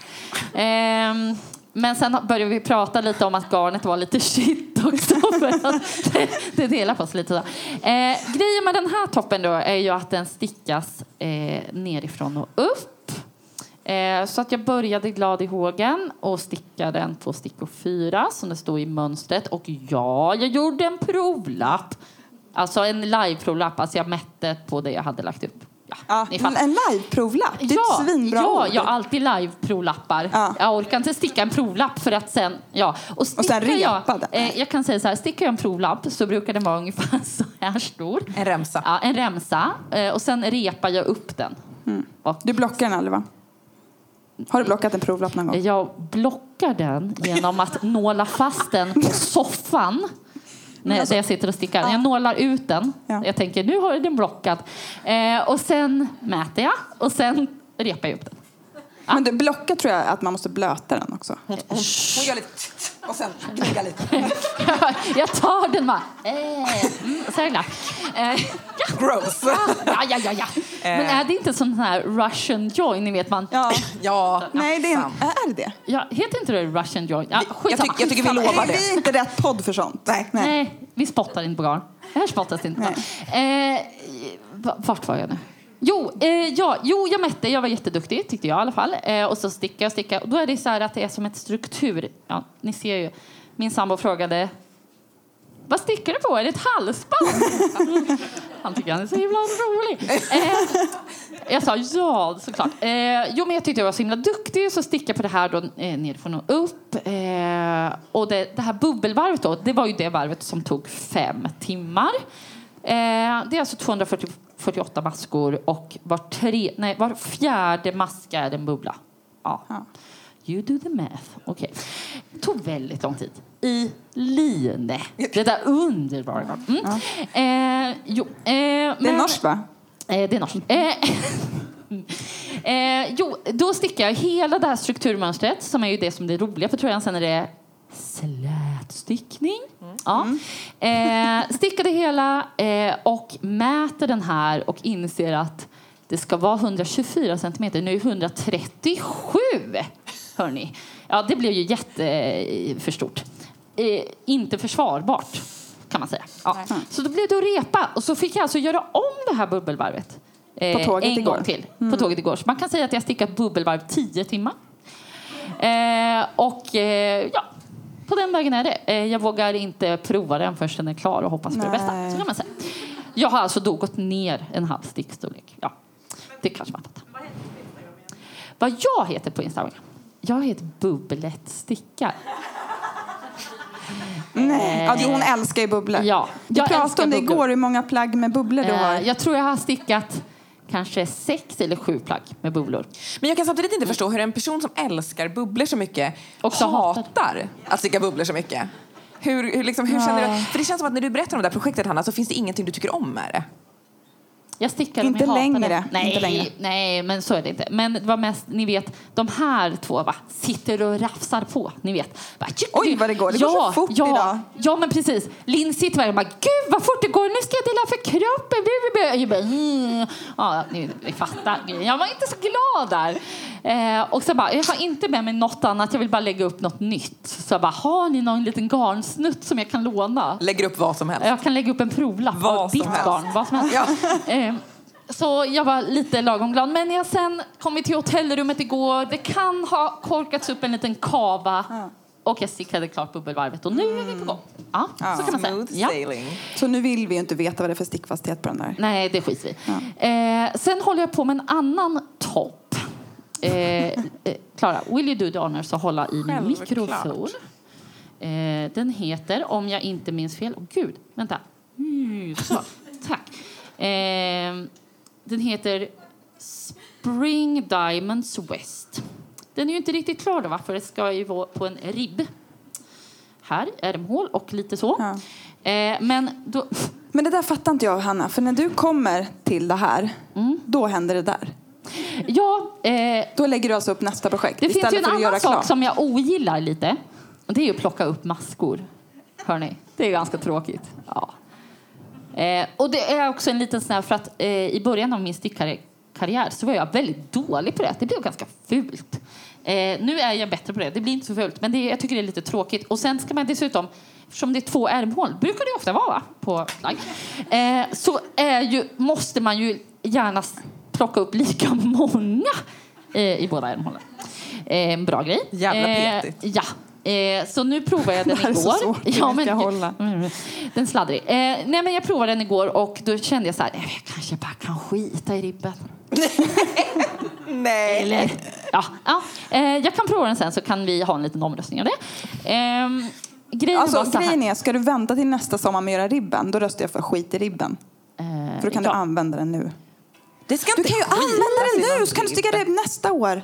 B: Ehm, men sen började vi prata lite om att garnet var lite shit också. För att det, det delar på oss lite. Så. Eh, grejen med den här toppen då är ju att den stickas eh, nerifrån och upp. Eh, så att jag började glad i hågen och stickade den på stickor fyra som det stod i mönstret. Och ja, jag gjorde en provlapp. Alltså en live-provlapp. Alltså jag mätte på det jag hade lagt upp. Ja,
C: Ja,
B: ni fattar.
C: en liveprovlapp. Det är ett svinbra
B: ja,
C: ord.
B: jag har alltid live-provlappar.
C: Ja.
B: Jag orkar inte sticka en provlapp för att sen... Ja. Och, stickar
C: repa
B: jag,
C: den.
B: eh, jag kan säga så här, stickar jag en provlapp så brukar den vara ungefär så här stor.
A: En remsa.
B: Ja, en remsa. Eh, och sen repar jag upp den. Och
C: Mm. Du blockar den aldrig va? Har du blockat en provlapp någon gång?
B: jag blockar den genom att nåla fast den på soffan. När där jag sitter och stickar. Jag nålar ut den.
C: alltså- Ja.
B: Jag tänker nu har jag den blockad. Eh, och sen mäter jag och sen repar jag upp den.
C: Men du, blocka tror jag att man måste blöta den också.
A: Hon gör lite tsk, och sen gnuggar lite.
B: jag tar den bara. Eh, mm, så är den där. Eh, ja,
A: Gross. Eh.
B: ja, ja, ja, ja. Men är det inte sån här Russian joy? Ni vet man.
C: Ja.
A: Ja.
C: Nej, det är,
A: sant.
C: är det det?
B: Ja, heter inte det Russian joy? Ja,
A: tyck-
B: skitsamma.
A: jag tycker vi
B: skitsamma.
A: lovar
C: Vi-
A: det.
C: Vi är inte rätt podd för sånt. Nej.
B: Nej, vi spottar inte på garn. Här spottas inte på garn. Eh, va- vart var jag nu? Jo, eh, ja, jo, jag mätte. Jag var jätteduktig, tyckte jag i alla fall. Eh, och så stickade jag och stickade. Och då är det så här att det är som ett struktur. Ja, ni ser ju. Min sambo frågade vad stickar du på? Är det ett halsband? han tycker han är så himla rolig. Eh, jag sa ja, såklart. Eh, jo, men jag tyckte jag var så himla duktig så stickade jag på det här då eh, nerifrån och upp. Eh, och det, det här bubbelvarvet då, det var ju det varvet som tog fem timmar. Eh, det är alltså 248 maskor och var, tre, nej, var fjärde maska är en bubbla. Ja. You do the math. Okej. tog väldigt lång tid. I line. Det där underbara garnet. Mm. Eh, jo, eh,
C: Det är
B: men-
C: norskt va?
B: Eh, det är norskt. Eh, eh, jo, då stickar jag hela det här strukturmönstret som är ju det som är det roliga för tröjan. Sen är det slätstickning.
C: Mm.
B: Ja. Eh, stickar det hela eh, och mäter den här och inser att det ska vara 124 centimeter. Nu är det 137! Hörni. Ja, det blev ju jätteför stort. Eh, inte försvarbart kan man säga. Ja. Så då blev det att repa och så fick jag alltså göra om det här bubbelvarvet. eh,
C: På tåget
B: en
C: igår.
B: Gång till,
C: Mm.
B: på tåget igår. Så man kan säga att jag stickat bubbelvarv 10 timmar. Eh, och eh, ja, på den vägen är det. Eh, jag vågar inte prova den förrän den är klar och hoppas på det
C: Nej.
B: bästa. Så kan man säga. Jag har alltså då gått ner en halv stickstorlek. Ja, det kanske man fattar. Vad jag heter på Instagram? Jag heter Bubblet Stickar.
C: Nej. Ja, det- hon älskar ju bubblor.
B: Ja,
C: Vi
B: jag
C: pratade
B: älskar
C: om det
B: bubblor.
C: igår, hur många plagg med bubblor du har.
B: Eh, Jag tror jag har stickat kanske sex eller sju plagg med bubblor.
A: Men jag kan samtidigt inte förstå hur en person som älskar bubblor så mycket
B: Också hatar.
A: hatar att sticka bubblor så mycket. Hur, hur, liksom, hur känner du? För det känns som att när du berättar om det här projektet Hanna så finns det ingenting du tycker om med det.
B: Jag stickar
C: Inte
B: om jag hatar
C: längre,
B: det.
C: inte
B: Nej,
C: längre.
B: nej, men så är det inte. Men det var mest, ni vet, de här två va, sitter och rafsar på. Ni vet. Bara, tju-
C: Oj, vad det går. Det går så fort
B: ja,
C: idag.
B: Ja, men precis. Linn sitter verkligen bara, gud vad fort det går. Nu ska jag dela för kroppen. Bu, bu, bu. Jag bara, mm. ja, ni, ni fattar. Jag var inte så glad där. Eh, och så bara, jag har inte med mig något annat. Jag vill bara lägga upp något nytt. Så jag bara, har ni någon liten garnsnutt som jag kan låna?
A: Lägger upp vad som helst.
B: Jag kan lägga upp en provlapp
A: Vad
B: av
A: som
B: ditt
A: helst.
B: barn. Vad som helst. Eh, Så jag var lite lagom glad. Men när jag sen kom till hotellrummet igår, det kan ha korkats upp en liten kava. Och jag stickade klart bubbelvarvet och nu är vi på gång. Ja, så kan man säga.
A: Smooth
B: Ja.
A: sailing.
C: Så nu vill vi ju inte veta vad det är för stickfasthet på den där.
B: Nej, det skiter vi i. eh, Sen håller jag på med en annan topp. Eh, eh, Klara, will you do the honors att hålla i min
A: Självklart.
B: mikrofon? Eh, den heter, om jag inte minns fel... Åh, gud, vänta. Mm, så, tack. Eh, den heter Spring Diamonds West. Den är ju inte riktigt klar, då, va? för det ska ju vara på en ribb. Här, ärmhål och lite så.
C: Ja.
B: Eh, men då...
C: Men det där fattar inte jag, Hanna. För när du kommer till det här,
B: Mm.
C: då händer det där.
B: Ja, eh,
C: Då lägger du alltså upp nästa projekt
B: Det
C: istället
B: finns ju en
C: för att göra
B: annan sak
C: klart.
B: som jag ogillar lite. Och det är ju att plocka upp maskor. Hörrni, det är ganska tråkigt. Ja. Eh, och det är också en liten sån här, för att eh, i början av min stickarkarriär så var jag väldigt dålig på det. Det blev ganska fult. Eh, nu är jag bättre på det. Det blir inte så fult, men det, jag tycker det är lite tråkigt. Och sen ska man dessutom, eftersom det är två ärmhål, brukar det ju ofta vara va? på plagg, eh, så är ju, måste man ju gärna s- plocka upp lika många eh, i båda ärmhålen. Eh, en bra grej.
A: Jävla
B: Eh,
A: petigt.
B: ja. Eh, så nu provade jag den
C: här är
B: igår.
C: så svårt, hur vi ska hålla.
B: Mm, Den sladdrig. Eh, nej, men jag provade den igår och då kände jag så här, "Eh, jag kanske bara kan skita i ribben.
A: Nej.
B: Eller, ja, ja. Eh, jag kan prova den sen så kan vi ha en liten omröstning av det. Ehm, grejen var
C: Alltså,
B: så här.
C: grejen är, ska du vänta till nästa sommar med att göra ribben, då röstar jag för skit i ribben.
B: Eh,
C: För då kan
B: ja.
C: du använda den nu.
A: Det ska
C: Du
A: inte
C: kan ju
A: skita
C: använda
A: sig
C: den nu,
A: någon
C: så kan du
A: ribb.
C: sticka ribb nästa år.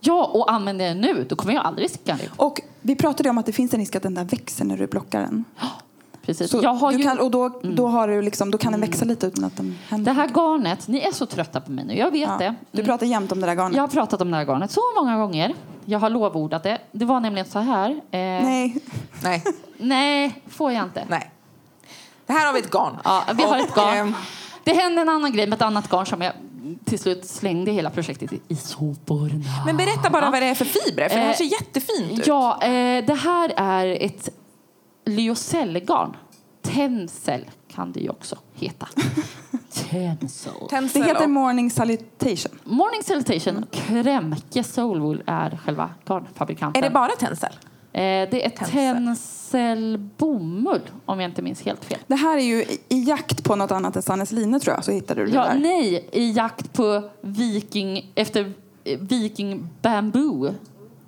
B: ja, och använder jag den nu, då kommer jag aldrig sticka en ribb.
C: Och vi pratade om att det finns en risk att den där växer när du blockar den.
B: Precis.
C: Så
B: Typ. jag har
C: du
B: ju... Mm.
C: kan, och då, då, har du liksom, då kan den växa lite utan att den händer.
B: Det här garnet, ni är så trötta på mig nu, jag vet
C: Ja.
B: det.
C: Du
B: Mm.
C: pratar jämt om det där garnet.
B: Jag har pratat om det här garnet så många gånger. Jag har lovordat det. Det var nämligen så här. Eh, nej.
C: Nej,
A: Nej,
B: nej, får jag inte.
A: nej. Det här har vi ett garn.
B: Ja, vi har ett
A: Och,
B: garn.
A: ehm,
B: Det hände en annan grej med ett annat garn som jag till slut slängde hela projektet i- i soporna.
A: Men berätta bara
B: Ja.
A: vad det är för fibrer, för det här
B: Eh,
A: ser jättefint ut.
B: Ja, eh, det här är ett lyocellgarn. Tencel kan det ju också heta. Tencel.
C: det
A: Tencel
C: heter
A: och-
C: morning salutation.
B: Morning Salutation,
A: Mm.
B: Krämke Soulwool är själva garnfabrikanten.
A: Är det bara tencel?
B: Eh, det är
A: Tencel?
B: Tencel bomull, om jag inte minns helt fel.
C: Det här är ju i- i jakt på något annat än Sannes line tror jag, så hittade du det
B: Ja,
C: där.
B: nej, i jakt på viking, efter eh, viking bamboo.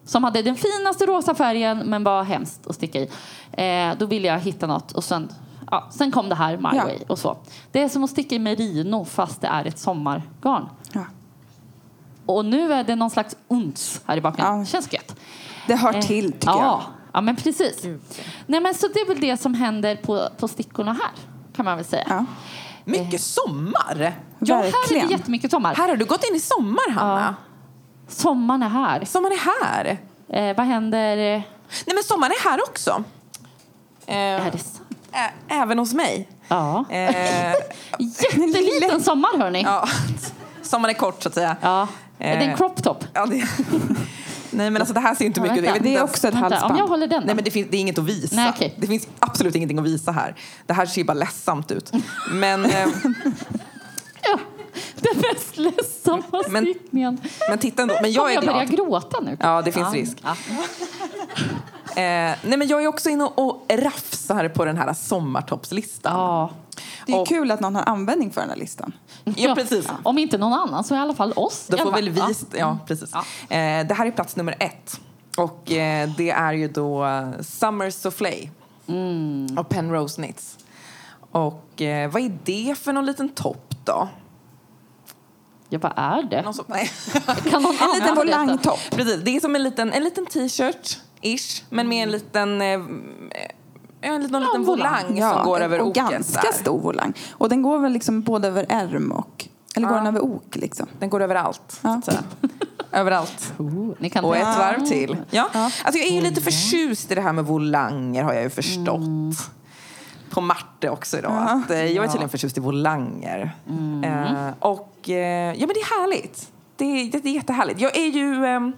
B: Som hade den finaste rosa färgen men var hemskt att sticka i. Eh, då ville jag hitta något och sen, ja, sen kom det här My
C: Ja.
B: Way och så. Det är som att sticka i merino fast det är ett sommargarn.
C: Ja.
B: Och nu är det någon slags uns här i baken.
C: Ja.
B: Känns gött.
C: Det hör
B: Eh,
C: till tycker
B: ja. Ja, men precis. Nej, men så det är väl det som händer på, på stickorna här kan man väl säga.
C: jag. Ja.
B: Eh.
A: Mycket sommar!
B: Ja, här är
C: verkligen.
B: det jättemycket sommar.
A: Här har du gått in i sommar, Hanna.
B: Sommaren är här.
A: Sommaren är här.
B: Eh, vad händer? eh,
A: Nej, men sommaren är här också. Eh,
B: Är det sant?
A: ä- även hos mig.
B: Ja.
A: Eh,
B: Jätteliten sommar, hörni. Ja.
A: ja. Sommaren är kort, så att säga.
B: Är det en crop top?
A: Ja, det... Nej, men alltså, det här ser inte
B: Ja,
A: mycket ut. Jag
B: vänta.
A: vet
C: Det
A: inte
C: är
A: ens-
C: också ett
B: Vänta, om
C: halsband.
B: jag håller den då?
A: Nej, men det, finns, det är inget att visa.
B: Nej, okej.
A: Det finns absolut ingenting att visa här. Det här ser ju bara ledsamt ut. Men, eh,
B: ja. Den mest ledsamma
A: Men-
B: stickningen.
A: men titta ändå. Men jag är
B: jag börjar
A: glad.
B: gråta nu.
A: Ja, det finns risk.
B: Ja.
A: Eh, nej, men jag är också inne och, och rafsar på den här sommartoppslistan.
B: Ja.
C: Det är ju
A: Och-
C: kul att någon har användning för den här listan.
A: Ja, precis.
B: Om inte någon annan så i alla fall oss. "Ah,
A: Då
B: i alla
A: får väl
B: fall.
A: vi...
B: Ja.
A: Ja, precis.
B: Ja.
A: Eh, det här är plats nummer ett. Och eh, det är ju då eh, Summer Soufflé och Penrose Knits. Och eh, vad är det för någon liten topp då?
B: Ja, vad är det?
A: Någon som, nej.
B: Kan någon
C: En liten
B: annan berätta?
C: volangtopp.
A: Precis, det är som en liten, en liten t-shirt, ish, men med en liten... Eh, eh, en liten, liten
B: volang.
A: volang
C: Ja,
A: som går över
C: och
A: oket.
C: ganska
A: där.
C: stor volang. Och den går väl liksom både över ärm och... Eller går den över ok liksom?
A: Den går överallt.
C: Ja.
A: Så. att säga. överallt.
B: Oh, ni kan
A: Och
B: tänka-
A: ett varv till. Ja. Alltså jag är ju lite förtjust i det här med volanger har jag ju förstått. På Marte också idag. Att, eh, jag är tydligen förtjust i volanger. Eh, och eh, ja men det är härligt. Det är, det, det är jättehärligt. Jag är ju ehm,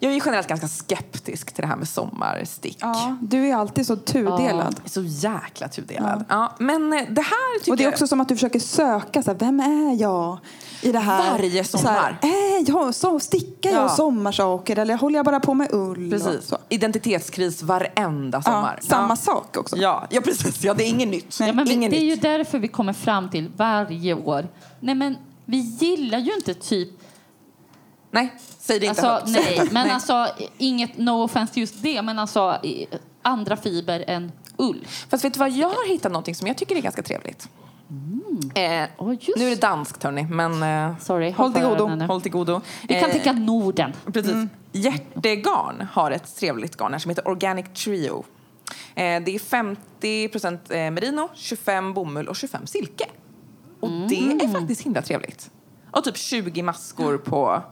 A: jag är ju generellt ganska skeptisk till det här med sommarstick.
C: Ja, du är alltid så tudelad.
A: Jag är så jäkla tudelad. Ja. men eh, det här tycker
C: Och det är
A: jag...
C: också som att du försöker söka, så här, vem är jag i det här?
A: Varje sommar.
C: Så här, är jag, så, stickar jag
A: Ja.
C: sommarsaker eller håller jag bara på med ull? och
A: Precis.
C: Så.
A: Identitetskris varenda
C: Ja,
A: sommar.
C: samma
A: Ja.
C: sak också.
A: Ja, ja, precis. Ja, det är inget nytt.
B: Ja, men vi,
A: Inget
B: det är
A: nytt.
B: ju därför vi kommer fram till varje år. Nej, men vi gillar ju inte typ...
A: Nej, säg det inte
B: Alltså,
A: högt. Säg det
B: nej,
A: inte.
B: men alltså, inget no offense till just det, men alltså i- andra fiber än ull.
A: Fast vet du vad, jag har hittat någonting som jag tycker är ganska trevligt. Eh,
B: Åh, just.
A: nu är det danskt hörni, men eh,
B: Sorry,
A: håll, till
B: hoppar
A: godo,
B: över den nu.
A: håll till godo.
B: Vi kan
A: Eh,
B: tänka Norden.
A: Precis. Hjärtegarn har ett trevligt garn här som heter Organic Trio. Eh, det är 50 eh, merino, 25 bomull och 25 silke. Och det
B: Mm.
A: är faktiskt himla trevligt. Och typ 20 maskor på...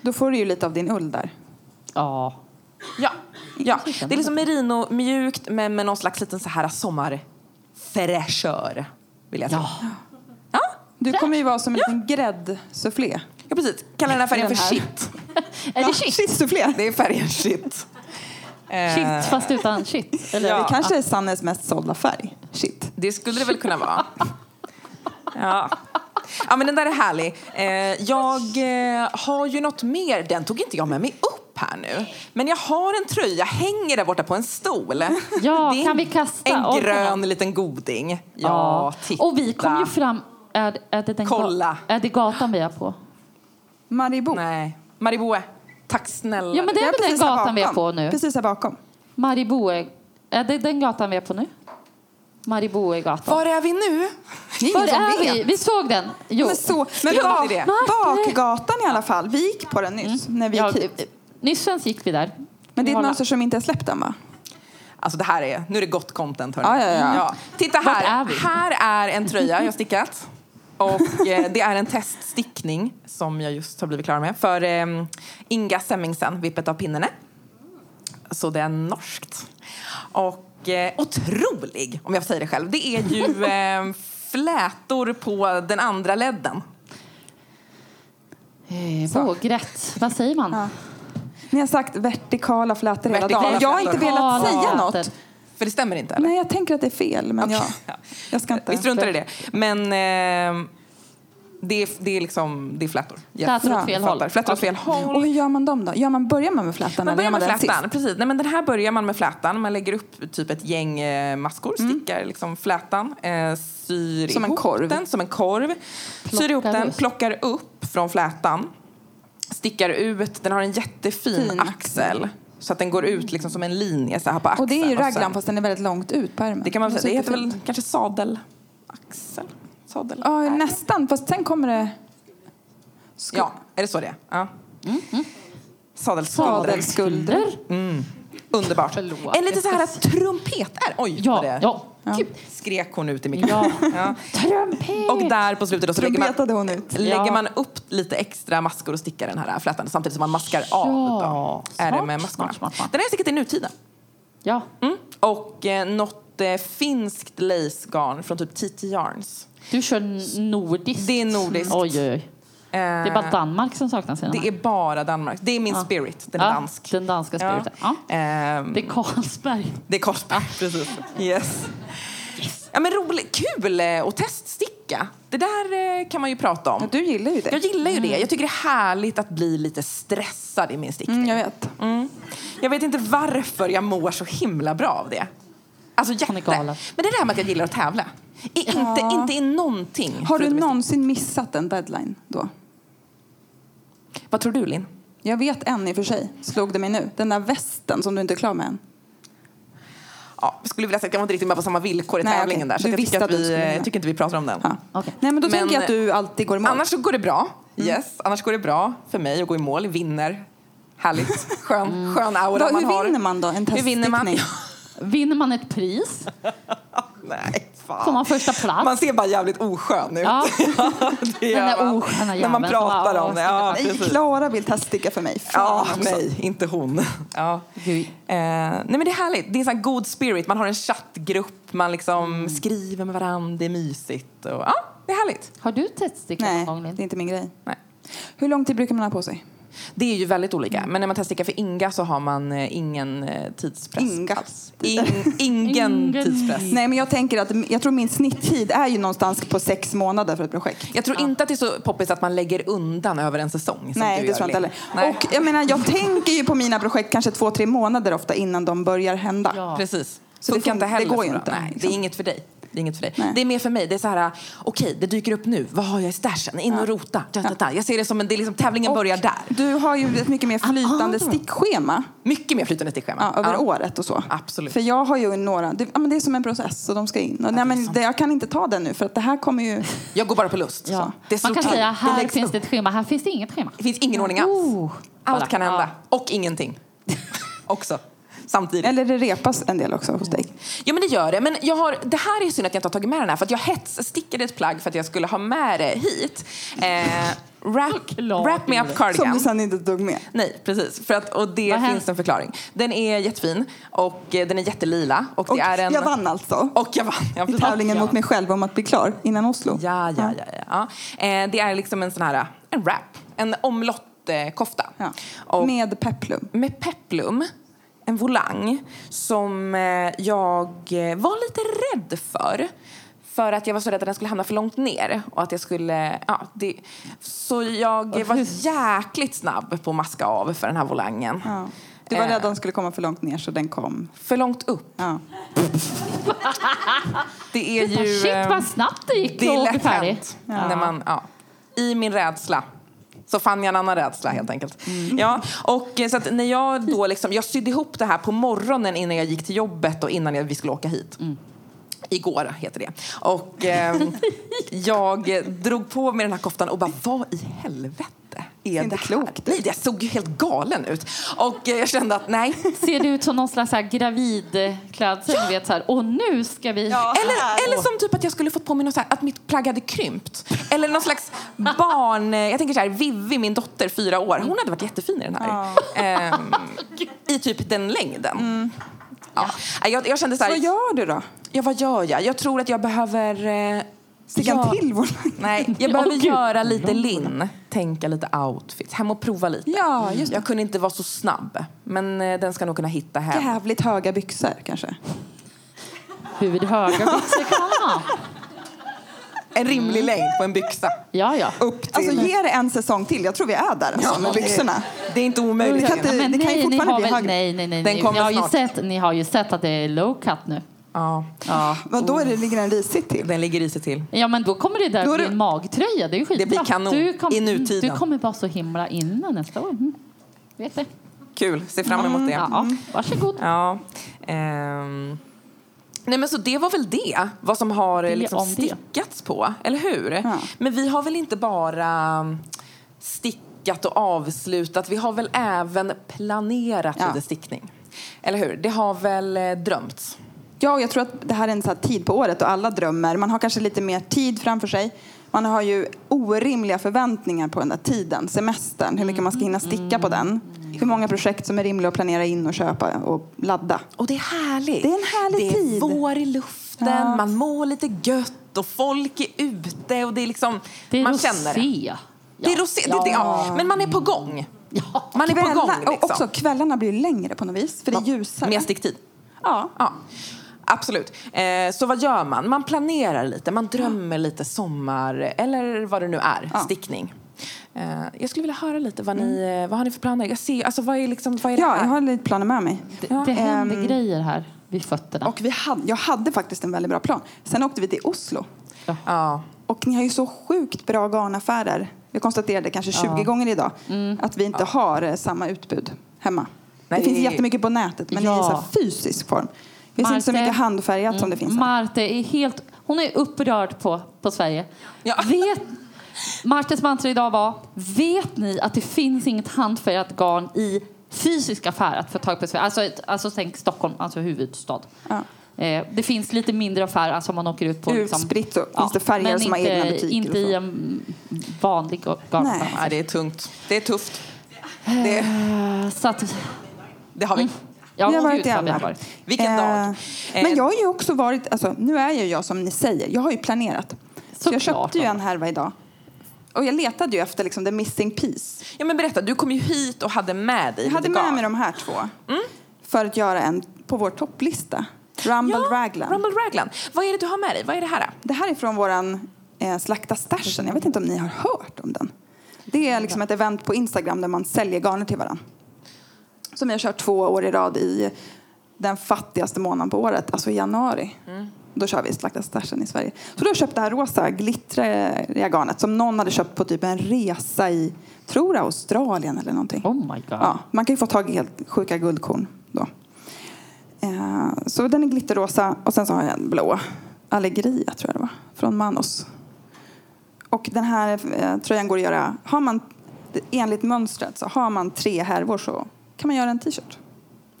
C: Då får du ju lite av din ull där.
B: Ja.
A: Ja, ja. det är liksom merino mjukt men med någon slags liten så här sommarfräschör. Vill jag säga.
B: ja.
C: Du kommer ju vara som en liten gräddsufflé.
A: Ja, precis. Kallar den här färgen för
C: Den här.
A: shit.
B: Är det shit?
C: Shitsufflé.
A: Det är färgen shit. Eh,
B: Shit, fast utan shit. Eller?
A: Ja.
C: Det kanske är Sannes mest sålda färg. Shit.
A: Det skulle det väl kunna vara. Ja. ja, men den där är härlig. Eh, jag eh, har ju något mer. Den tog inte jag med mig upp här nu. Men jag har en tröja, hänger där borta på en stol.
B: Ja,
A: Det är
B: kan vi kasta?
A: En
B: Orkar
A: grön
B: man?
A: liten goding. Ja, titta.
B: Och vi kom ju fram... Är, är, det den
A: Kolla.
B: Ga, är det gatan vi är på?
C: Maribou.
A: Nej, Mariboe. Tack snälla.
B: Ja, men det är väl den
C: precis här
B: gatan vi är
C: bakom.
B: på nu?
C: Precis här bakom.
B: Mariboe... Är det den gatan vi är på nu? Mariboegatan.
A: Var är vi nu?
C: Det
B: Var
C: ingen som
B: är
C: vet.
B: vi? Vi såg den. Jo.
C: Men, så, men
A: Ja,
C: bak,
A: det är det.
C: bakgatan i alla fall. Vi gick på den nyss när vi
B: Mm. Ja,
C: gick hit.
B: nyss ens gick vi där.
C: Men
B: Vi
C: det är ett
B: håller-
C: mönster som inte är släppt än va?
A: Alltså det här är, nu är det gott content hörni.
C: Ja, ja, ja.
A: Titta här,
B: är vi?
A: här är en tröja jag stickat. Och eh, det är en teststickning som jag just har blivit klar med för eh, Inga Semmingsen, Vippet av pinnene. Så det är norskt. Och eh, otrolig, om jag säger det själv. Det är ju eh, flätor på den andra ledden.
B: Eh, Vågrätt. Vad säger man?
C: Ja. Ni har sagt vertikala flätor hela
A: Vertikala
C: dagen. Jag har inte
A: flätor.
C: velat säga
B: Karlater.
C: något.
A: För det stämmer inte eller?
C: Nej, jag tänker att det är fel. Men
A: Okej.
C: jag, jag ska
A: Vi
C: inte.
A: struntar i det. Men eh, det, är, det är liksom, det är flätor. Yes.
B: Flätor åt
C: Ja,
B: fel
A: Jag
B: håll.
A: fattar. Flätor åt fel håll.
C: Och hur gör man dem då? Gör man, börjar man med flätan?
A: Man
C: eller gör
A: börjar med
C: den
A: flätan.
C: sist?
A: Precis. Nej, men den här börjar man med flätan. Man lägger upp typ ett gäng eh, maskor, stickar liksom flätan, eh, syr
C: Mm. Som en
A: ihop
C: korv.
A: den som en korv. syr ihop den,
B: ut.
A: plockar upp från flätan, stickar ut. Den har en jättefin
C: Fin
A: axel så att den går ut liksom som en linje så här på axeln.
C: Och det är ju
A: sen-
C: raglan fast den är väldigt långt ut på ärmen.
A: Det kan man väl säga. Det heter väl
C: Superfint.
A: kanske sadelaxel? Sadel.
C: Ja, nästan. Fast sen kommer det... Sko-
A: Ja, är det så det är? Ja.
C: Mm,
A: Sadelskulder.
C: Sadelskulder.
A: Underbart.
B: Förlåt,
A: en lite
B: jag
A: så här trumpeter. Oj, vad
B: Ja,
A: det
B: ja.
A: Gud, skrek hon ut i
B: ja.
A: mikrofonen.
B: Trumpet!
A: Och där på slutet då så lägger man,
C: Trumpetade hon ut.
A: lägger
B: Ja.
A: man upp lite extra maskor och stickar den här flätan samtidigt som man maskar av. Då, är det
B: smart,
A: med maskorna.
B: smart, smart, smart.
A: Den är säkert i nutiden.
B: ja.
A: Mm. Och eh, något eh, finskt lacegarn från typ TT Yarns.
B: Du kör nordiskt.
A: Det är nordiskt.
B: Oj, oj, oj.
A: Eh,
B: Det är bara Danmark som saknar sina.
A: det är bara Danmark. Det är min
B: Ja.
A: spirit, den
B: ja,
A: är dansk.
B: Den danska
A: Ja.
B: spiriten. Ja.
A: Ehm,
B: Det är Carlsberg.
A: Det är Carlsberg. Precis. Yes. Ja, men roligt, kul eh, att teststicka. Det där eh, kan man ju prata om.
C: Ja, du gillar ju
A: Jag
C: det.
A: gillar ju det. Jag tycker det är härligt att bli lite stressad i min stickning.
C: Mm, jag vet.
A: Mm. Jag vet inte varför jag mår så himla bra av det. Alltså jätte.
B: är
A: Men
B: galen.
A: det är det här med att jag gillar att tävla. I, inte, inte i någonting.
C: Har
A: förutom
C: du
A: i stick.
C: någonsin missat en deadline då?
A: Vad tror du, Linn?
C: Jag vet en i och för sig, slog det mig nu. Den där västen som du inte är klar med än.
A: Ja, jag skulle vilja säga att jag var inte riktigt med på samma villkor i
C: Nej,
A: tävlingen
C: okej.
A: där. Så
C: Du
A: jag tycker
C: visste
A: att,
C: att du
A: vi,
C: skulle
A: jag
C: vinna.
A: tycker inte vi pratar om den.
C: Ja. Nej, men då
A: Men-
C: tänker jag att du alltid går i mål.
A: Annars så går det bra.
C: Mm.
A: Yes. Annars går det bra för mig att gå i mål. Vinner. Härligt. Skön, skön aura
C: Vad-
A: man
C: hur
A: har.
C: vinner man då? En
A: Hur vinner man?
C: teststickning?
B: Vinner man ett pris
A: Nej, fan.
B: får man första plats.
A: Man ser bara jävligt oskön ut.
B: Ja.
A: det gör
B: Den där
A: man.
B: osköna
A: När man
B: jäveln som
A: pratar
B: bara,
A: om det.
B: "Åh,
A: Ja,
B: stackars
C: Nej,
A: precis.
C: Klara vill teststicka för mig. Fan
A: Ja,
C: också.
A: nej, inte hon. Ja. Eh,
B: Gud.
A: nej men det är härligt. Det är en sån här god spirit. Man har en chattgrupp, man liksom
B: Mm.
A: skriver med varandra, det är mysigt. Och, ja, det är härligt.
B: Har du teststickat någon gång?
C: nej,
B: Linn?
C: det är inte min grej.
A: Nej.
C: Hur lång tid brukar man ha på sig?
A: Det är ju väldigt
B: Mm.
A: olika. Men när man teststickar för Inga så har man eh, ingen eh, tidspress.
C: Inga.
A: alls. In, ingen
B: Ingen.
A: tidspress.
C: Nej, men jag tänker att jag tror min snitttid är ju någonstans på sex månader för ett projekt.
A: Jag tror inte att det är så poppis att man lägger undan över en säsong. Som
C: Nej,
A: du
C: det
A: gör,
C: tror jag inte
A: Linn.
C: heller.
A: Nej.
C: Och jag menar, jag tänker ju på mina projekt kanske två, tre månader ofta innan de börjar hända.
B: Ja.
A: Precis.
C: Så det
A: funkar
C: fun-
A: inte
C: det
A: heller
C: går
A: så
C: ju
A: bra.
C: inte,
A: Nej, det
C: liksom.
A: är inget för dig. Det är inget för dig.
C: Nej.
A: Det är mer för mig. Det är så här, okej, det dyker upp nu. Vad har jag i stashen? In och rota. Da, da, da. Jag ser det som en, det är liksom, tävlingen börjar där.
C: Du har ju ett mycket mer flytande stickschema
A: Mycket mer flytande stickschema.
C: ja, över året och så.
A: Absolut.
C: För jag har ju några, det, ja, men det är som en process och de ska in. Och, nej, men det, jag kan inte ta den nu för att det här kommer ju...
A: Jag går bara på lust.
B: Ja.
A: Så. Det slår
B: Man kan
A: till.
B: säga
A: det
B: här
A: läggs
B: finns
A: upp.
B: det ett schema, här finns det inget schema.
A: Det finns ingen ordning alls.
B: Oh.
A: Allt kan hända.
B: Ja.
A: Och ingenting. Också. Samtidigt.
C: Eller det repas en del också hos dig.
A: Ja men det gör det. Men jag har, det här är synd att jag inte har tagit med den här för att jag hetsstickade ett plagg för att jag skulle ha med det hit. Eh, wrap,
B: Såklart.
A: wrap me up
C: Som du
A: cardigan.
C: sen inte tog med.
A: Nej, precis. För att, och det
B: Vad
A: finns
B: hände?
A: en förklaring. Den är jättefin och eh, den är jättelila. Och,
C: Och
A: det är en...
C: jag vann alltså.
A: Och jag vann. Ja,
C: I
A: precis.
C: tävlingen mot mig själv om att bli klar innan Oslo.
A: Ja, ja, ja. ja. ja. Eh, det är liksom en sån här, en wrap. En omlott eh, kofta.
C: Ja.
A: Och
C: Med peplum.
A: med peplum, en volang, som eh, jag eh, var lite rädd för. För att jag var så rädd att den skulle hamna för långt ner. Och att jag skulle, ja, det, så jag var jäkligt snabb på att maska av för den här volangen.
C: Ja. Du var
A: Eh,
C: rädd att den skulle komma för långt ner så den kom.
A: För långt upp.
C: Ja.
A: Det är ju...
B: Shit
A: eh,
B: vad snabbt det gick
A: Det är
B: och
A: lätt
B: färdigt.
A: hänt. När man, ja. I min rädsla så fann jag en annan rädsla helt enkelt. Ja, och eh, så att när jag då liksom, jag sydde ihop det här på morgonen innan jag gick till jobbet och innan jag, vi skulle åka hit. Igår heter det. Och ehm, jag eh, drog på mig den här koftan och bara, vad i helvete? Är
C: Inte
A: det här?
C: klokt.
A: Nej, jag såg ju helt galen ut. Och eh, jag kände att nej,
B: Ser det ut som någon slags så här gravidklädsel? Du vet så här, och nu ska vi...
A: Eller, eller som typ att jag skulle fått på mig något så här, att mitt plagg hade krympt. Eller någon slags barn... eh, Jag tänker så här, Vivi, min dotter, fyra år, hon hade varit jättefin i den här. Ehm, I typ den längden. Ja. Nej, Jag, jag kände så
C: Mm.
A: här,
C: Vad gör du då?
A: ja, vad gör jag? Jag tror att jag behöver... eh,
C: Sticka en
A: gör-
C: till vår
A: Nej, jag
B: Åh,
A: behöver
B: Gud.
A: göra lite lin, tänka lite outfits, hem och prova lite.
C: Ja, just det.
A: Jag kunde inte vara så snabb, men eh, den ska nog kunna hitta hem.
C: Jävligt höga byxor kanske.
B: Hur höga byxor kan man ha?
A: En rimlig längd på en byxa.
B: Ja, ja.
A: Upp till...
C: Alltså ge det en säsong till. Jag tror vi är där alltså, med
A: det-
C: byxorna.
A: Det är inte omöjligt.
C: Det kan inte-
B: Men
C: det kan ju
B: nej, ni
C: fortfarande
B: har
C: bli
B: väl,
C: högre.
B: nej, nej, nej,
A: Den
B: nej. Ni,
A: kommer
B: har ju
A: snart.
B: sett, ni har ju sett att det är low cut nu.
A: Ja,
B: Ja,
C: Vad då är det ligger en risigt till?
A: den ligger i sig till.
B: ja men då kommer det där
C: Då är
B: bli
C: det-
B: en magtröja. Det är ju skitbra.
A: Det blir kanon
B: du
A: i nutiden.
B: Du kommer vara så himla inne nästa år. Mm. Vet det.
A: Kul, se fram emot det. Ja.
B: Ja, varsågod.
A: ehm. Nej men så det var väl det, vad som har eh,
B: Det
A: liksom
B: om det.
A: stickats på, eller hur?
C: Ja.
A: Men vi har väl inte bara mm, stickat och avslutat, vi har väl även planerat
C: Ja.
A: lite stickning. Eller hur? Det har väl eh, drömts.
C: Ja, och jag tror att det här är en sån här tid på året och alla drömmer. Man har kanske lite mer tid framför sig. Man har ju orimliga förväntningar på den där tiden, semestern, hur mycket man ska hinna sticka på den. Hur många projekt som är rimliga att planera in och köpa och ladda.
A: Och det är härligt.
C: Det är en härlig
A: Det är
C: tid.
A: vår i luften, man mår lite gött och folk är ute och det är liksom,
B: Det är
A: man
B: rosé.
A: känner det.
B: Ja.
A: Det är rosé, det, det, ja. Men man är på gång.
B: Ja.
A: Man är på gång
C: Kvällar- och
A: liksom.
C: Också kvällarna blir ju längre på något vis, för det är ljusare.
A: Mer sticktid.
C: Ja.
A: Ja. Absolut. Eh, så vad gör man? Man planerar lite, man drömmer lite sommar eller vad det nu är,
C: Ja.
A: stickning. Eh, jag skulle vilja höra lite vad ni, eh, vad har ni för planer? Jag ser, alltså vad är liksom, vad är det
C: Mm. Ja,
A: här?
C: jag har lite planer med mig.
B: Det, det händer
C: Ehm.
B: grejer här. vid fötterna.
C: Och vi hade, jag hade faktiskt en väldigt bra plan. Sen åkte vi till Oslo.
A: Ja.
C: Och ni har ju så sjukt bra garnaffärer. Vi konstaterade kanske 20 gånger idag
B: Mm.
C: att vi inte har eh, samma utbud hemma.
A: Nej,
C: det finns
A: det är-
C: jättemycket på nätet, men
B: Ja.
C: i så här fysisk form. Det finns inte
B: Marte-
C: så
B: Mm.
C: mycket handfärgat som det finns här.
B: Marte är helt... Hon är upprörd på, på Sverige.
A: Ja.
B: Vet, Martes mantra idag var Vet ni att det finns inget handfärgat garn i fysisk affär att få tag på i Sverige? Alltså, ett- alltså tänk Stockholm, alltså huvudstad.
C: Ja.
B: Eh, det finns lite mindre affärer, alltså man åker ut på...
C: Utspritt så finns det färger
B: men
C: som har
B: inte,
C: egna butiker och
B: inte
C: så.
B: i en vanlig ga-
C: Nej.
B: garnaffär.
A: Nej, det är tungt. Det är tufft. Det,
B: Eh, Så att...
A: det
C: Mm.
A: har vi.
B: Ja,
C: Vi har varit
B: gud,
C: i
B: vad vi har
C: alla.
B: varit.
A: Vilken dag. Eh,
C: Men jag har ju också varit, alltså, nu är ju jag som ni säger, jag har ju planerat. Så
B: Såklart,
C: jag köpte ju
B: Anna.
C: en härva idag. Och jag letade ju efter liksom the missing piece.
A: Ja, men berätta, du kom ju hit och hade med dig
C: Jag hade
A: lite
C: med
A: garn.
C: mig de här två för att göra en på vår topplista. Rumble Raglan. Mm.
A: Rumble Raglan. Vad är det du har med dig? Vad är det här?
C: Det här är från våran eh, Slakta stashen. Jag vet inte om ni har hört om den. Det är liksom ett event på Instagram där man säljer garner till varandra. Som jag kört två år i rad i den fattigaste månaden på året, alltså i januari. Då kör vi Slakta stashen i Sverige. Så då har jag köpt det här rosa glittriga garnet som någon hade köpt på typ en resa i, tror jag, Australien eller någonting.
B: Oh my god.
C: Ja, man kan ju få tag i helt sjuka guldkorn då. Eh, så den är glitterrosa och sen så har jag en blå. Allegria tror jag det var, från Manos. Och den här eh, tröjan går att göra, har man enligt mönstret så har man tre härvor så kan man göra en t-shirt.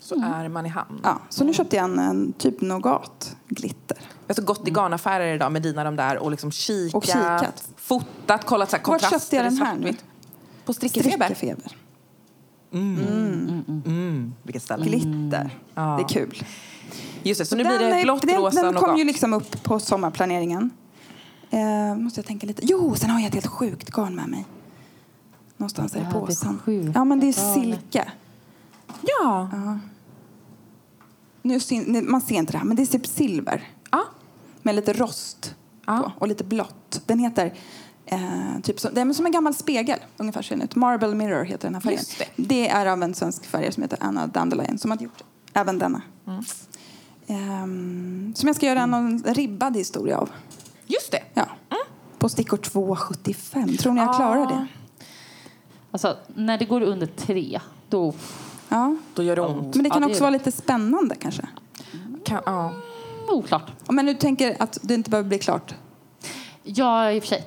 A: Så är man i hamn.
C: Ja, så nu köpte jag en, en typ nougat glitter.
A: Jag har så gått i garnaffärer idag med dina de där och liksom kikat,
C: Mm. Och kikat.
A: fotat, kollat så här,
C: Vart
A: kontraster.
C: köpte jag den här nu?
A: svartvitt. På Strickefeber.
C: Strickefeber.
A: Mm, vilket ställe.
C: Glitter.
A: Ja.
C: Det är kul.
A: Just det, så nu
C: Den
A: blir det
C: är-
A: blått,
C: den,
A: rosa
C: Den
A: och
C: kom ju
A: gult.
C: liksom upp på sommarplaneringen. Eh, måste jag tänka lite. Jo, sen har jag ett helt sjukt garn med mig. Någonstans är
B: Ja,
C: det
B: det är
C: påsen.
B: sjukt
C: Ja, men det är
B: garn.
C: silke.
A: Ja.
C: Nu syn, nu- man ser inte det här, men det är typ silver.
A: Ja.
C: Med lite rost
A: Ja.
C: på och lite blått. Den heter eh, typ som, det är som en gammal spegel. Ungefär ser den ut. Marble Mirror heter den här färgen.
A: Just det.
C: är av en svensk färgare som heter Anna Dandelion som har gjort även denna.
A: Mm.
C: Ehm, som jag ska göra en ribbad historia av.
A: Just det.
C: Ja. På stickor 2,75. Tror ni jag klarar det?
B: Alltså, när det går under tre, då...
C: Ja.
A: Då gör det ont.
C: Men det kan
B: Ja, det
C: också
B: gör
C: vara lite spännande kanske.
A: Kan, ja.
B: Oklart.
C: Om jag nu tänker att det inte behöver bli klart.
B: Ja, i och för sig.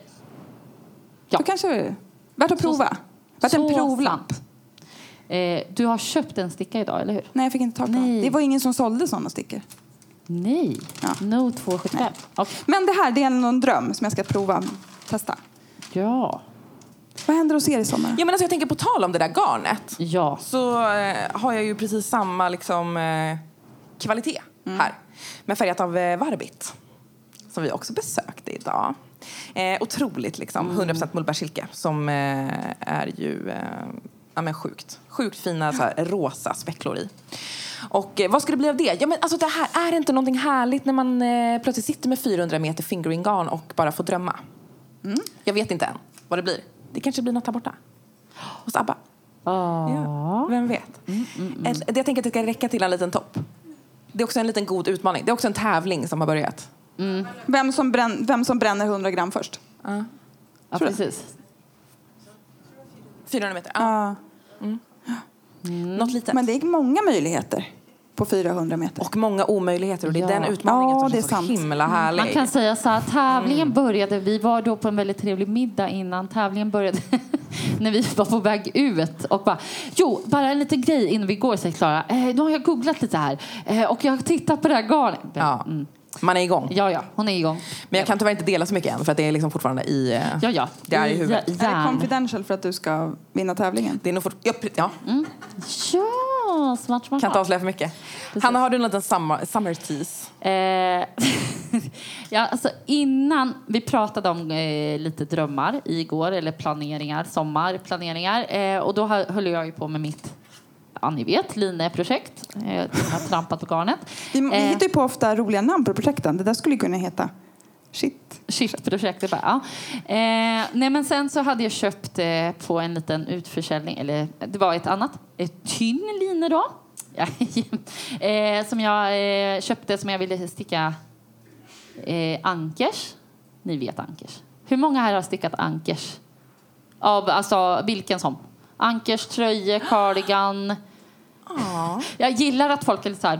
B: Ja.
C: Då kanske det är värt att prova. Värt en
B: Så
C: provlapp.
B: sant. Eh, du har köpt en sticka idag, eller hur?
C: Nej, jag fick inte tag på
B: Nej.
C: den. Det var ingen som sålde sådana stickor.
B: Nej.
C: Ja.
B: No 275. Okej.
C: Men det här det är någon dröm som jag ska prova. Testa.
B: Ja.
C: Vad händer hos er i sommar?
A: ja men alltså jag tänker på tal om det där garnet.
B: Ja.
A: så eh, har jag ju precis samma liksom, eh, kvalitet här. Men färgat av eh, Varbit, som vi också besökte idag. Eh, otroligt, liksom. 100% mullbärssilke, som eh, är ju eh, ja, men sjukt. Sjukt fina så här, rosa specklor i. Och eh, vad ska det bli av det? Ja, men, alltså, det här, är det inte någonting härligt när man eh, plötsligt sitter med 400 meter fingering-garn och bara får drömma? Jag vet inte än vad det blir. Det kanske blir något här borta. Hos ABBA. Ja,
B: Ja.
A: vem vet? Ett- Jag tänker att det ska räcka till en liten topp. Det är också en liten god utmaning. Det är också en tävling som har börjat.
C: Vem, som brän, vem som bränner 100 gram först?
B: ja,
C: Tror du?
B: precis.
A: 400 meter. Ja. Mm.
C: Ja.
A: Något litet.
C: Men det är många möjligheter på 400 meter.
A: Och många omöjligheter. Och det är
B: Ja.
A: den utmaningen
C: Ja,
A: som
C: det är
A: känns så
C: sant.
A: himla härlig.
B: Man kan säga så här, tävlingen började, vi var då på en väldigt trevlig middag innan tävlingen började. när vi var på väg ut och bara, jo, bara en liten grej innan vi går, säger Klara. Eh, nu har jag googlat lite här eh, och jag har tittat på det här garnet.
A: Ja.
B: Mm.
A: Man är igång.
B: ja, ja, hon är igång.
A: Men jag kan tyvärr inte dela så mycket än för att det är liksom fortfarande i... eh,
B: Ja, ja.
A: Det är i huvudet.
B: Ja,
C: Är det
B: järn.
C: confidential för att du ska vinna tävlingen?
A: Det är nog fort... ja, pre- ja,
B: Ja, smart, smart.
A: kan inte
B: smart.
A: avslöja för mycket. Hanna, har du en liten summer, summer tease?
B: Eh, ja, alltså innan vi pratade om eh, lite drömmar igår, eller planeringar, sommarplaneringar. Eh, och då hö- höll jag ju på med mitt, ja ni vet, lineprojekt. Eh, jag har trampat på garnet.
C: Vi, vi
B: Eh,
C: hittar ju på ofta roliga namn på projekten. Det där skulle ju kunna heta Shit.
B: Shiftprojektet bara, ja. Eh, nej men sen så hade jag köpt eh, på en liten utförsäljning, eller det var ett annat, ett tynn line då. Ja, eh, som jag eh, köpte som jag ville sticka eh, ankers. Ni vet ankers. Hur många här har stickat ankers? Av alltså vilken som? Ankers, tröjor, cardigan.
A: Ja,
B: Jag gillar att folk är lite så här.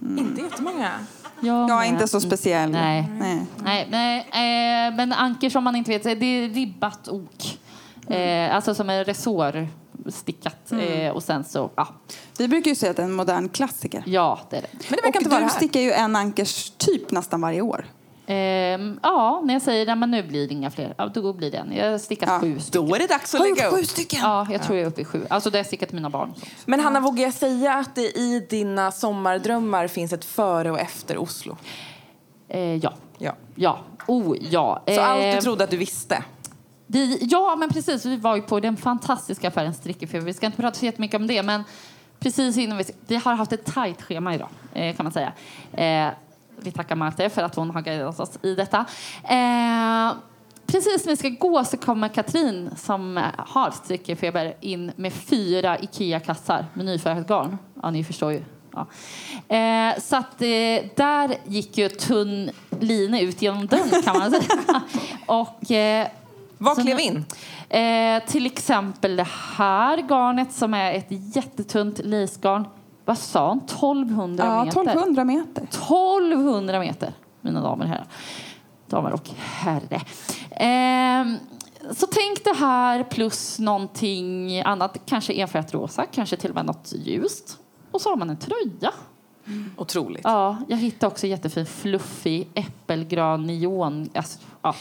A: inte jättemånga.
B: Jag,
C: Jag är inte så speciell.
A: Mm.
B: Nej.
C: Nej.
B: Nej, nej eh, men anker som man inte vet, det är ribbat ok. Eh, alltså som en resår stickat. Eh, och sen så, ja,
C: Vi brukar ju säga att det är en modern klassiker.
B: ja det är det.
A: Men det verkar
C: Och
A: inte vara
C: du
A: det här.
C: stickar ju en ankers typ nästan varje år.
B: Ehm, ja, när jag säger det, men nu blir det inga fler, ja, då blir det en. Jag har stickat
C: Ja.
B: sju. stycken.
A: Då är det dags att
C: Har
A: lägga
C: gjort sju
A: upp.
C: stycken!
B: Ja, jag tror jag är uppe i sju. Alltså det har jag stickat till mina barn. och sånt.
A: Men Hanna, vågar jag säga att det i dina sommardrömmar finns ett före och efter Oslo?
B: Eh, ja.
A: Ja.
B: Ja. Oh, ja.
A: Så allt du
B: Ehm,
A: trodde att du visste?
B: Vi, ja, men precis. Vi var ju på den fantastiska affären Strickefeber. Vi ska inte prata så jättemycket om det, men precis innan vi... Vi har haft ett tajt schema idag, eh, kan man säga. Eh, vi tackar Malte för att hon har guidat oss i detta. Eh, precis när vi ska gå så kommer Katrin, som har Strickefeber, in med fyra IKEA-kassar med nyfärgat garn. Ja, ni förstår ju. Ja. Eh, så att eh, där gick ju tunn line ut genom dörren kan man säga. Och eh,
A: Vad
B: så
A: klev
B: nu-
A: in?
B: Eh, till exempel det här garnet som är ett jättetunt lisgarn. Vad sa hon? 1200
C: Ja,
B: meter?
C: 1200 meter.
B: 1200 meter, mina damer och herrar. Damer och herre. Ehm, så tänk det här plus någonting annat. Kanske enfärgat rosa, kanske till och med något ljust. Och så har man en tröja.
A: Otroligt.
B: Ja, jag hittade också jättefin fluffig äppelgrön neon. Alltså, ja.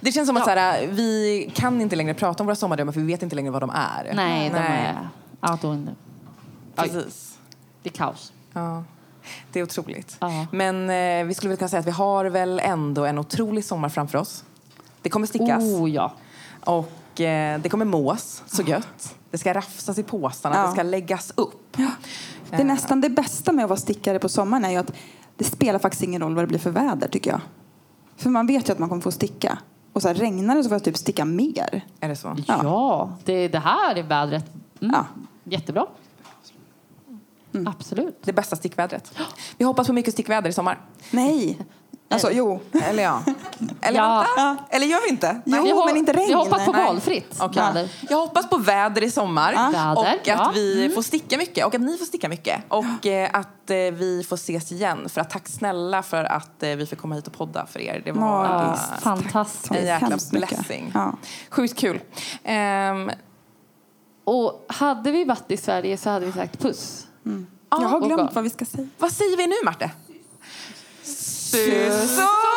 A: Det känns som att så här, vi kan inte längre prata om våra sommardrömmar för vi vet inte längre vad de är.
B: Nej, de är... Ja, då, är det-
A: Precis.
B: det är kaos.
A: Ja. Det är otroligt.
B: Ja.
A: Men eh, vi skulle väl kunna säga att vi har väl ändå en otrolig sommar framför oss. Det kommer stickas
B: Oh ja.
A: och eh, det kommer mås så gött. Det ska rafsas i påsarna,
C: Ja.
A: det ska läggas upp. Eh,
C: Det är nästan det bästa med att vara stickare på sommaren är ju att det spelar faktiskt ingen roll vad det blir för väder tycker jag. För man vet ju att man kommer få sticka. Och så här, regnar det så får jag typ sticka mer.
A: Är det så?
B: Ja, det, det här är vädret. Mm.
C: Ja. Mm.
B: Jättebra. Absolut.
A: Det bästa stickvädret. Vi hoppas på mycket stickväder i sommar.
C: Nej! Alltså jo.
A: Eller ja. Eller
B: Ja.
A: vänta. Eller gör vi inte?
C: Jo,
B: Vi har-
C: men inte regn.
B: Vi hoppas på
C: Nej.
B: valfritt
A: Okej.
B: väder.
A: Jag hoppas på väder i sommar
B: Väder,
A: och att
B: ja. Mm.
A: vi får sticka mycket och att ni får sticka mycket och eh, att eh, vi får ses igen för att tack snälla för att eh, vi fick komma hit och podda för er. Det var
B: Ja,
C: Magiskt.
A: eh,
B: fantastiskt.
A: en jäkla
C: Hemskt mycket.
A: blessing.
C: Ja.
A: Sjukt kul. Ehm,
B: Och hade vi varit i Sverige så hade vi sagt puss.
C: Jag har
B: och
C: glömt
B: gal.
C: vad vi ska säga.
A: vad säger vi nu Marte? Puss och